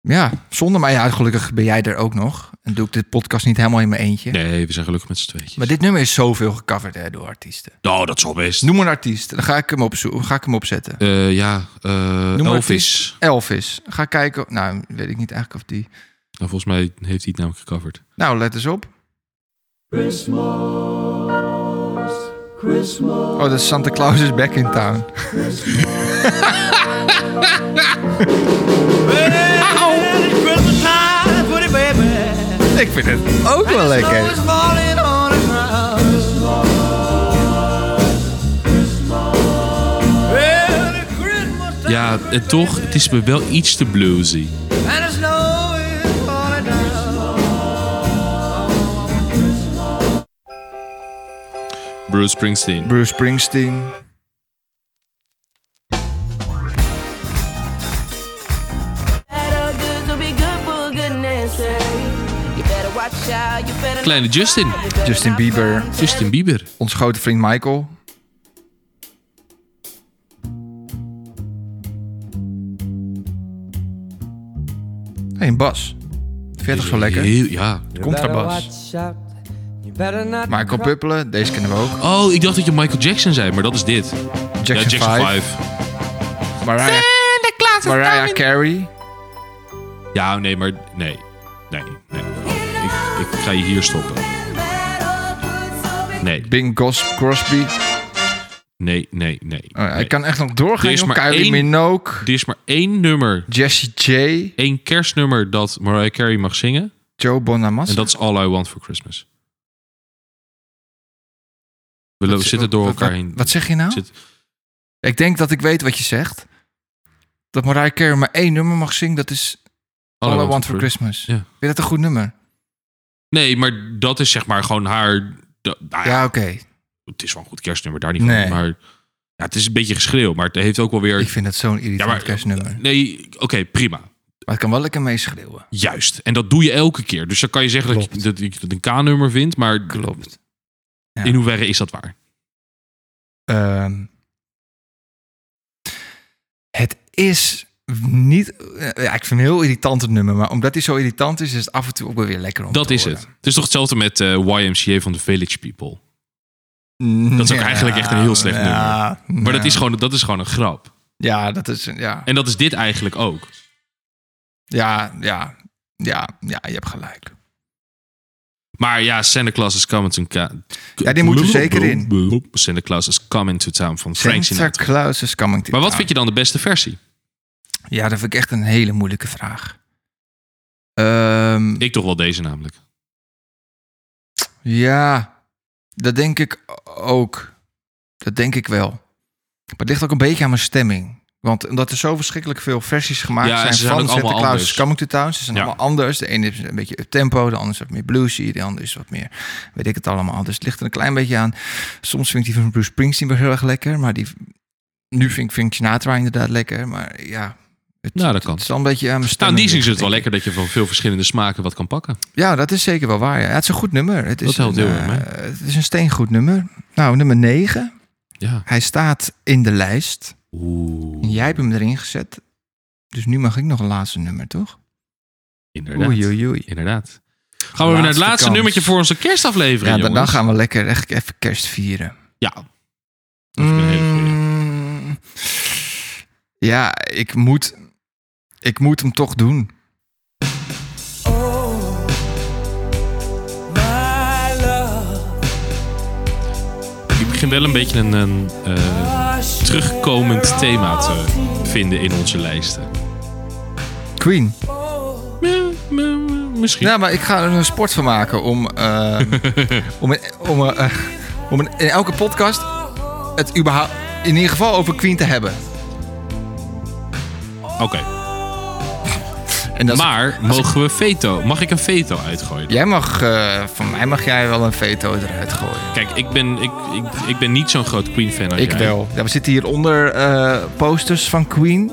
[SPEAKER 2] Ja, zonder mij. Ja, gelukkig ben jij er ook nog. En doe ik dit podcast niet helemaal in mijn eentje.
[SPEAKER 1] Nee, we zijn gelukkig met z'n tweetjes.
[SPEAKER 2] Maar dit nummer is zoveel gecoverd hè, door artiesten.
[SPEAKER 1] Nou, dat is al best.
[SPEAKER 2] Noem een artiest. Dan ga ik hem, opzo- ga ik hem opzetten.
[SPEAKER 1] Eh, ja, eh,
[SPEAKER 2] Noem een
[SPEAKER 1] Elvis.
[SPEAKER 2] artiest. Elvis. Ga kijken. Nou, weet ik niet eigenlijk of die...
[SPEAKER 1] Nou, volgens mij heeft hij het namelijk gecoverd.
[SPEAKER 2] Nou, let eens op. Oh, dat is Santa Claus is back in town.
[SPEAKER 4] Christmas time, put it, baby.
[SPEAKER 2] Ik vind het ook wel
[SPEAKER 4] Snow
[SPEAKER 2] lekker.
[SPEAKER 4] is falling on the ground. Well, the Christmas time
[SPEAKER 1] Ja, en toch, het is me wel iets te bluesy.
[SPEAKER 4] and the snow is falling down.
[SPEAKER 1] Bruce Springsteen.
[SPEAKER 2] Bruce Springsteen.
[SPEAKER 1] Kleine Justin.
[SPEAKER 2] Justin Bieber.
[SPEAKER 1] Justin Bieber.
[SPEAKER 2] Ons grote vriend Michael. Hé, hey, een bas. Vind je toch zo lekker?
[SPEAKER 1] Heel, ja.
[SPEAKER 2] Contrabas. Michael Puppelen, deze kennen we ook.
[SPEAKER 1] Oh, ik dacht dat je Michael Jackson zei, maar dat is dit.
[SPEAKER 2] Jackson,
[SPEAKER 1] ja, Jackson
[SPEAKER 2] 5.
[SPEAKER 1] 5.
[SPEAKER 2] Mariah, Mariah Carey.
[SPEAKER 1] Ja, nee, maar nee. Nee, nee. Ik, ik ga je hier stoppen. Nee,
[SPEAKER 2] Bing Gos- Crosby.
[SPEAKER 1] nee, nee, nee.
[SPEAKER 2] Oh, ja,
[SPEAKER 1] nee.
[SPEAKER 2] Ik kan echt nog
[SPEAKER 1] Er
[SPEAKER 2] doorgaan.
[SPEAKER 1] is
[SPEAKER 2] joh.
[SPEAKER 1] maar
[SPEAKER 2] Kylie
[SPEAKER 1] één-
[SPEAKER 2] Minogue.
[SPEAKER 1] Er is maar één nummer,
[SPEAKER 2] Jesse J.
[SPEAKER 1] één kerstnummer dat Mariah Carey mag zingen.
[SPEAKER 2] Joe Bonamassa.
[SPEAKER 1] En dat is All I Want For Christmas. We lo- zitten door
[SPEAKER 2] Wat-
[SPEAKER 1] elkaar
[SPEAKER 2] wat-
[SPEAKER 1] heen.
[SPEAKER 2] Wat zeg je nou?
[SPEAKER 1] Zit-
[SPEAKER 2] Ik denk dat ik weet wat je zegt. Dat Mariah Carey maar één nummer mag zingen. Dat is All, I Want For Christmas.
[SPEAKER 1] Ja.
[SPEAKER 2] Vind je dat een goed nummer?
[SPEAKER 1] Nee, maar dat is zeg maar gewoon haar... da- nou ja,
[SPEAKER 2] Ja, oké.
[SPEAKER 1] Het is wel een goed kerstnummer, daar niet van.
[SPEAKER 2] Nee.
[SPEAKER 1] Maar ja, het is een beetje geschreeuw, maar het heeft ook wel weer...
[SPEAKER 2] Ik vind dat zo'n irritant
[SPEAKER 1] Ja, maar-
[SPEAKER 2] kerstnummer.
[SPEAKER 1] Nee, oké, prima.
[SPEAKER 2] Maar ik kan wel lekker mee schreeuwen.
[SPEAKER 1] Juist. En dat doe je elke keer. Dus dan kan je zeggen dat, je, dat ik het een K-nummer vind, maar
[SPEAKER 2] Klopt. Ja.
[SPEAKER 1] in hoeverre is dat waar?
[SPEAKER 2] Ehm, het is niet... eh, Ja, ik vind het een heel irritant het nummer. Maar omdat hij zo irritant is, is het af en toe ook wel weer lekker om
[SPEAKER 1] Dat
[SPEAKER 2] te
[SPEAKER 1] is
[SPEAKER 2] horen.
[SPEAKER 1] het. Het is toch hetzelfde met eh, YMCA van de Village People. Dat is ook
[SPEAKER 2] Ja,
[SPEAKER 1] eigenlijk echt een heel slecht
[SPEAKER 2] ja,
[SPEAKER 1] Maar dat
[SPEAKER 2] ja.
[SPEAKER 1] is, gewoon, dat is gewoon een grap.
[SPEAKER 2] Ja, dat is... Ja.
[SPEAKER 1] En dat is dit eigenlijk ook.
[SPEAKER 2] Ja, ja, ja, ja, je hebt gelijk.
[SPEAKER 1] Maar ja, Santa Claus is coming to town.
[SPEAKER 2] Ja, die moet er zeker in.
[SPEAKER 1] Santa Claus is coming to town van Frank
[SPEAKER 2] Santa
[SPEAKER 1] Sinatra.
[SPEAKER 2] Claus is coming to
[SPEAKER 1] Maar wat
[SPEAKER 2] town.
[SPEAKER 1] vind je dan de beste versie?
[SPEAKER 2] Ja, dat vind ik echt een hele moeilijke vraag. Ehm,
[SPEAKER 1] Ik toch wel deze namelijk.
[SPEAKER 2] Ja, dat denk ik ook. Dat denk ik wel. Maar het ligt ook een beetje aan mijn stemming. Want omdat er zo verschrikkelijk veel versies gemaakt
[SPEAKER 1] Ja, en
[SPEAKER 2] zijn,
[SPEAKER 1] ze zijn
[SPEAKER 2] van
[SPEAKER 1] ook
[SPEAKER 2] Santa
[SPEAKER 1] allemaal
[SPEAKER 2] Claus
[SPEAKER 1] anders.
[SPEAKER 2] is Coming to Town. Ze zijn
[SPEAKER 1] Ja.
[SPEAKER 2] allemaal anders. De ene is een beetje tempo, de ander is wat meer bluesy, de ander is wat meer, weet ik het allemaal. Dus het ligt er een klein beetje aan. Soms vind ik die van Bruce Springsteen wel heel erg lekker, maar die, nu vind ik Frank Sinatra inderdaad lekker. Maar ja, het,
[SPEAKER 1] Nou, dat kan.
[SPEAKER 2] het is al een beetje aan mijn
[SPEAKER 1] Nou, in
[SPEAKER 2] stemming.
[SPEAKER 1] die zin is het
[SPEAKER 2] ligt,
[SPEAKER 1] wel
[SPEAKER 2] denk ik.
[SPEAKER 1] lekker dat je van veel verschillende smaken wat kan pakken.
[SPEAKER 2] Ja, dat is zeker wel waar. Ja. Ja, het is een goed nummer. Het is
[SPEAKER 1] Dat helpt
[SPEAKER 2] een,
[SPEAKER 1] heel erg mee.
[SPEAKER 2] eh, Het is een steengoed nummer. Nou, nummer 9.
[SPEAKER 1] Ja.
[SPEAKER 2] Hij staat in de lijst.
[SPEAKER 1] Oeh,
[SPEAKER 2] Jij hebt hem erin gezet. Dus nu mag ik nog een laatste nummer, toch?
[SPEAKER 1] inderdaad.
[SPEAKER 2] Oei, oei, oei.
[SPEAKER 1] Inderdaad. Gaan we weer naar het
[SPEAKER 2] Laatste
[SPEAKER 1] laatste
[SPEAKER 2] kans.
[SPEAKER 1] nummertje voor onze kerstaflevering,
[SPEAKER 2] Ja, dan, dan
[SPEAKER 1] jongens.
[SPEAKER 2] gaan we lekker echt even kerst vieren.
[SPEAKER 1] Ja. Dat vind ik een hele goeie.
[SPEAKER 2] Mm, ja, ik moet, ik moet hem toch doen.
[SPEAKER 1] Ik begin wel een beetje een, een, eh, terugkomend thema te vinden in onze lijsten.
[SPEAKER 2] Queen.
[SPEAKER 1] Mm, mm, Misschien.
[SPEAKER 2] Ja, Nou, maar ik ga er een sport van maken om, eh,
[SPEAKER 1] *laughs*
[SPEAKER 2] om, in, om, eh, eh, om in, in elke podcast het überhaupt in ieder geval over Queen te hebben.
[SPEAKER 1] Oké.
[SPEAKER 2] En dat is-
[SPEAKER 1] Maar mogen we veto? Mag ik een veto uitgooien?
[SPEAKER 2] jij mag, eh, van mij mag jij wel een veto eruit gooien.
[SPEAKER 1] Kijk, ik ben, ik, ik, ik ben niet zo'n groot Queen fan. als
[SPEAKER 2] Ik
[SPEAKER 1] jij.
[SPEAKER 2] wel. Ja, we zitten hier onder eh, posters van Queen.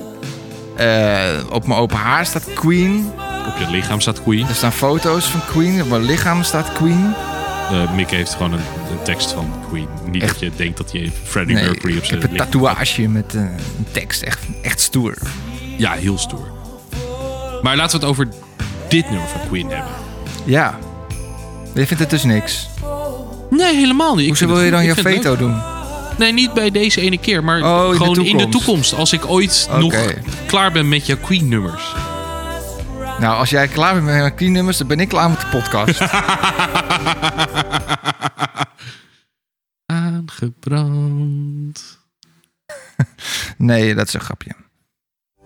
[SPEAKER 2] Eh, op mijn open haar staat Queen.
[SPEAKER 1] Op je lichaam staat Queen.
[SPEAKER 2] Er staan foto's van Queen. Op mijn lichaam staat Queen.
[SPEAKER 1] Eh, Mick heeft gewoon een, een tekst van Queen. Niet
[SPEAKER 2] Echt?
[SPEAKER 1] dat je denkt dat je Freddie
[SPEAKER 2] Nee,
[SPEAKER 1] Mercury op
[SPEAKER 2] ik
[SPEAKER 1] zijn
[SPEAKER 2] heb een
[SPEAKER 1] lichaam-
[SPEAKER 2] tatoeage met eh, een tekst. Echt, echt stoer.
[SPEAKER 1] Ja, heel stoer. Maar laten we het over dit nummer van Queen hebben.
[SPEAKER 2] Ja. Je vindt het dus niks.
[SPEAKER 1] Nee, helemaal niet.
[SPEAKER 2] Hoezo wil je dan je veto doen?
[SPEAKER 1] Nee, niet bij deze ene keer, maar
[SPEAKER 2] Oh, in de
[SPEAKER 1] gewoon in de
[SPEAKER 2] toekomst.
[SPEAKER 1] toekomst. Als ik ooit
[SPEAKER 2] Oké.
[SPEAKER 1] nog klaar ben met jouw Queen-nummers.
[SPEAKER 2] Nou, als jij klaar bent met mijn clean nummers, dan ben ik klaar met de
[SPEAKER 1] *laughs*
[SPEAKER 2] podcast.
[SPEAKER 1] Aangebrand.
[SPEAKER 2] nee, dat is een grapje.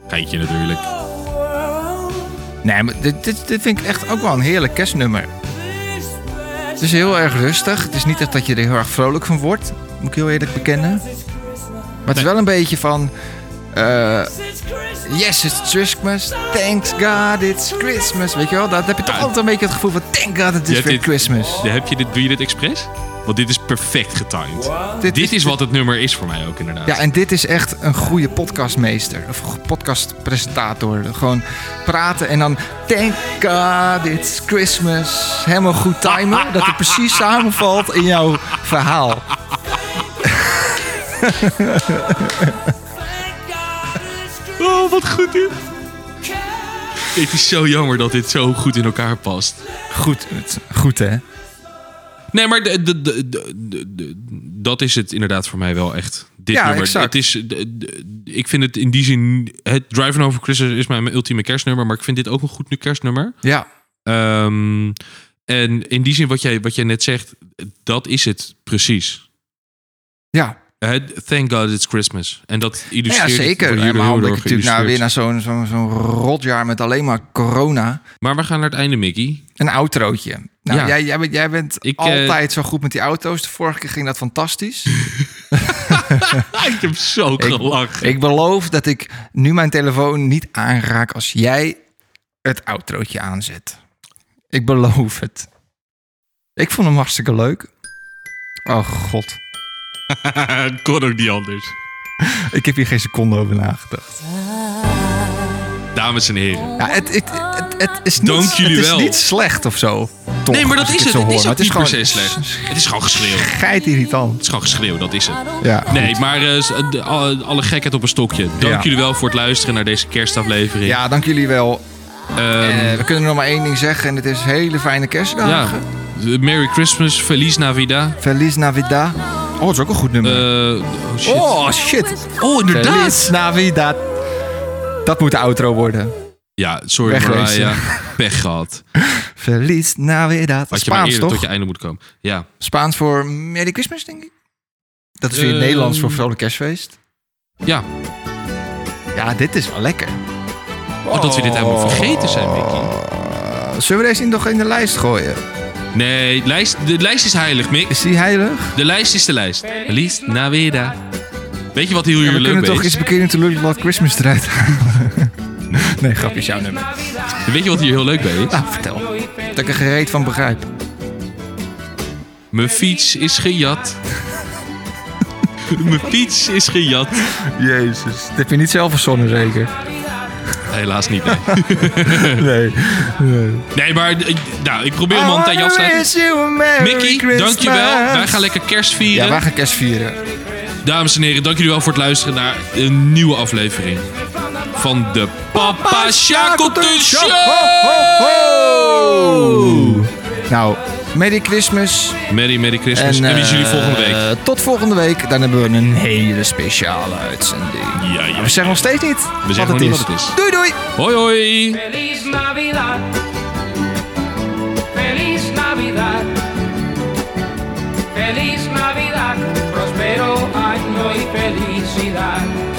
[SPEAKER 1] Geintje natuurlijk.
[SPEAKER 2] Nee, maar dit, dit, dit vind ik echt ook wel een heerlijk kerstnummer. Het is heel erg rustig. Het is niet echt dat je er heel erg vrolijk van wordt. Moet ik heel eerlijk bekennen. Maar het is wel een beetje van... eh, *laughs* yes, it's Christmas. Thanks God, it's Christmas. Weet je wel, dat heb je toch
[SPEAKER 1] Ja,
[SPEAKER 2] altijd een beetje het gevoel van... Thank God, it
[SPEAKER 1] Je
[SPEAKER 2] is
[SPEAKER 1] hebt
[SPEAKER 2] weer
[SPEAKER 1] dit-
[SPEAKER 2] Christmas.
[SPEAKER 1] Ja, Heb je dit, doe je dit expres? Want dit is perfect getimed.
[SPEAKER 2] Dit
[SPEAKER 1] Dit is wat het nummer is voor mij ook inderdaad.
[SPEAKER 2] Ja, en dit is echt een goede podcastmeester. Of go- podcastpresentator. Gewoon praten en dan... Thank God it's Christmas. Helemaal goed timen. Dat het
[SPEAKER 1] *laughs*
[SPEAKER 2] precies samenvalt in jouw verhaal.
[SPEAKER 1] Oh, wat goed dit. Het is zo jammer dat dit zo goed in elkaar past.
[SPEAKER 2] Goed, het- goed hè?
[SPEAKER 1] Nee, maar de- de- de- de- de- de- dat is het inderdaad voor mij wel echt. Dit
[SPEAKER 2] Ja,
[SPEAKER 1] nummer.
[SPEAKER 2] exact.
[SPEAKER 1] Het is, de- de- ik vind het in die zin... Het Driving Over Christmas is mijn ultieme kerstnummer. Maar ik vind dit ook een goed kerstnummer.
[SPEAKER 2] Ja,
[SPEAKER 1] Ehm, en in die zin wat jij, wat jij net zegt... Dat is het precies.
[SPEAKER 2] ja.
[SPEAKER 1] Het- Thank God it's Christmas. En dat
[SPEAKER 2] Ja,
[SPEAKER 1] illustreert... het
[SPEAKER 2] zeker.
[SPEAKER 1] voor jullie
[SPEAKER 2] Ja, maar
[SPEAKER 1] heel
[SPEAKER 2] omdat
[SPEAKER 1] erg
[SPEAKER 2] ik natuurlijk nou weer
[SPEAKER 1] geïllustreerd.
[SPEAKER 2] naar zo'n zo'n zo'n rotjaar met alleen maar corona...
[SPEAKER 1] Maar we gaan naar het einde,
[SPEAKER 2] *laughs*
[SPEAKER 1] Mickey.
[SPEAKER 2] Een outrootje. Nou,
[SPEAKER 1] Ja.
[SPEAKER 2] jij, jij, bent- jij bent
[SPEAKER 1] Ik, eh,
[SPEAKER 2] altijd zo goed met die auto's. De vorige keer ging dat fantastisch.
[SPEAKER 1] Ik heb zo gelachen.
[SPEAKER 2] Ik beloof dat ik nu mijn telefoon niet aanraak als jij het outrootje aanzet. Ik beloof het. Ik vond hem hartstikke leuk. Oh god,
[SPEAKER 1] Het *laughs* kon ook niet anders.
[SPEAKER 2] ik heb hier geen seconde over nagedacht.
[SPEAKER 1] Dames en heren.
[SPEAKER 2] Ja, het, het, het, het is, niet,
[SPEAKER 1] Dank jullie
[SPEAKER 2] het is
[SPEAKER 1] wel.
[SPEAKER 2] niet slecht of zo. Toch,
[SPEAKER 1] Nee, maar dat
[SPEAKER 2] als ik
[SPEAKER 1] is het.
[SPEAKER 2] zo
[SPEAKER 1] Het is
[SPEAKER 2] hoor.
[SPEAKER 1] ook niet per se
[SPEAKER 2] gewoon
[SPEAKER 1] slecht. Het is gewoon geschreeuw. Het
[SPEAKER 2] Geit irritant.
[SPEAKER 1] is gewoon geschreeuw, dat is het.
[SPEAKER 2] Ja.
[SPEAKER 1] Nee, maar eh, s- de- alle alle gekheid op een stokje. Dank
[SPEAKER 2] Ja.
[SPEAKER 1] jullie wel voor het luisteren naar deze kerstaflevering.
[SPEAKER 2] ja, dank jullie wel.
[SPEAKER 1] Ehm,
[SPEAKER 2] Eh, we kunnen nog maar één ding zeggen en het is hele fijne kerstdagen.
[SPEAKER 1] ja. Merry Christmas, Feliz Navidad.
[SPEAKER 2] Feliz Navidad. Oh, dat is ook een goed nummer.
[SPEAKER 1] Eh, oh, shit.
[SPEAKER 2] oh shit.
[SPEAKER 1] Oh,
[SPEAKER 2] Feliz Navidad. Dat moet de outro worden.
[SPEAKER 1] Ja, sorry
[SPEAKER 2] Wegwezen.
[SPEAKER 1] Mariah. Pech
[SPEAKER 2] *laughs*
[SPEAKER 1] gehad.
[SPEAKER 2] Feliz Navidad.
[SPEAKER 1] Had je maar
[SPEAKER 2] Spaans
[SPEAKER 1] eerder
[SPEAKER 2] toch?
[SPEAKER 1] tot je einde moet komen. Ja.
[SPEAKER 2] Spaans voor Merry Christmas, denk ik. Dat is weer
[SPEAKER 1] Ehm.
[SPEAKER 2] Nederlands voor vrolijk kerstfeest.
[SPEAKER 1] Ja.
[SPEAKER 2] Ja, dit is wel lekker. Eh,
[SPEAKER 1] Oh, dat we dit helemaal vergeten zijn, Mickey.
[SPEAKER 2] Zullen we deze nog in de lijst gooien?
[SPEAKER 1] Nee, lijst, de lijst is heilig, Mick.
[SPEAKER 2] Is die heilig?
[SPEAKER 1] De lijst is de lijst. Feliz Navidad. Weet je wat heel
[SPEAKER 2] we
[SPEAKER 1] jullie leuk
[SPEAKER 2] kunnen toch
[SPEAKER 1] is?
[SPEAKER 2] eens beginnen te lullen wat Christmas eruit halen. *laughs* nee, grapje, is jouw nummer.
[SPEAKER 1] Weet je wat hier heel leuk bij is?
[SPEAKER 2] Nou, vertel. Dat ik er gereed van begrijp.
[SPEAKER 1] Mijn fiets is gejat. Mijn fiets is gejat.
[SPEAKER 2] Jezus. Dat heb je niet zelf verzonnen, zeker?
[SPEAKER 1] Helaas niet. Nee,
[SPEAKER 2] Nee.
[SPEAKER 1] nee maar eh, nou, ik probeer hem al een tijdje af te sluiten. Mickey, dankjewel. Wij gaan lekker kerst vieren.
[SPEAKER 2] Ja, wij gaan kerst vieren.
[SPEAKER 1] Dames en heren, dank jullie wel voor het luisteren naar een nieuwe aflevering van de Papa Shackleton Show.
[SPEAKER 2] Nou, Merry Christmas.
[SPEAKER 1] Merry, Merry Christmas. En,
[SPEAKER 2] eh,
[SPEAKER 1] wie zien jullie volgende week?
[SPEAKER 2] Tot volgende week. Dan hebben we een hele speciale uitzending.
[SPEAKER 1] Ja, ja.
[SPEAKER 2] We zeggen nog steeds niet
[SPEAKER 1] We zeggen nog niet wat het is.
[SPEAKER 2] Doei, doei.
[SPEAKER 1] Hoi, hoi.
[SPEAKER 6] Feliz Navidad. Feliz Navidad. Feliz Navidad. Prospero año y felicidad.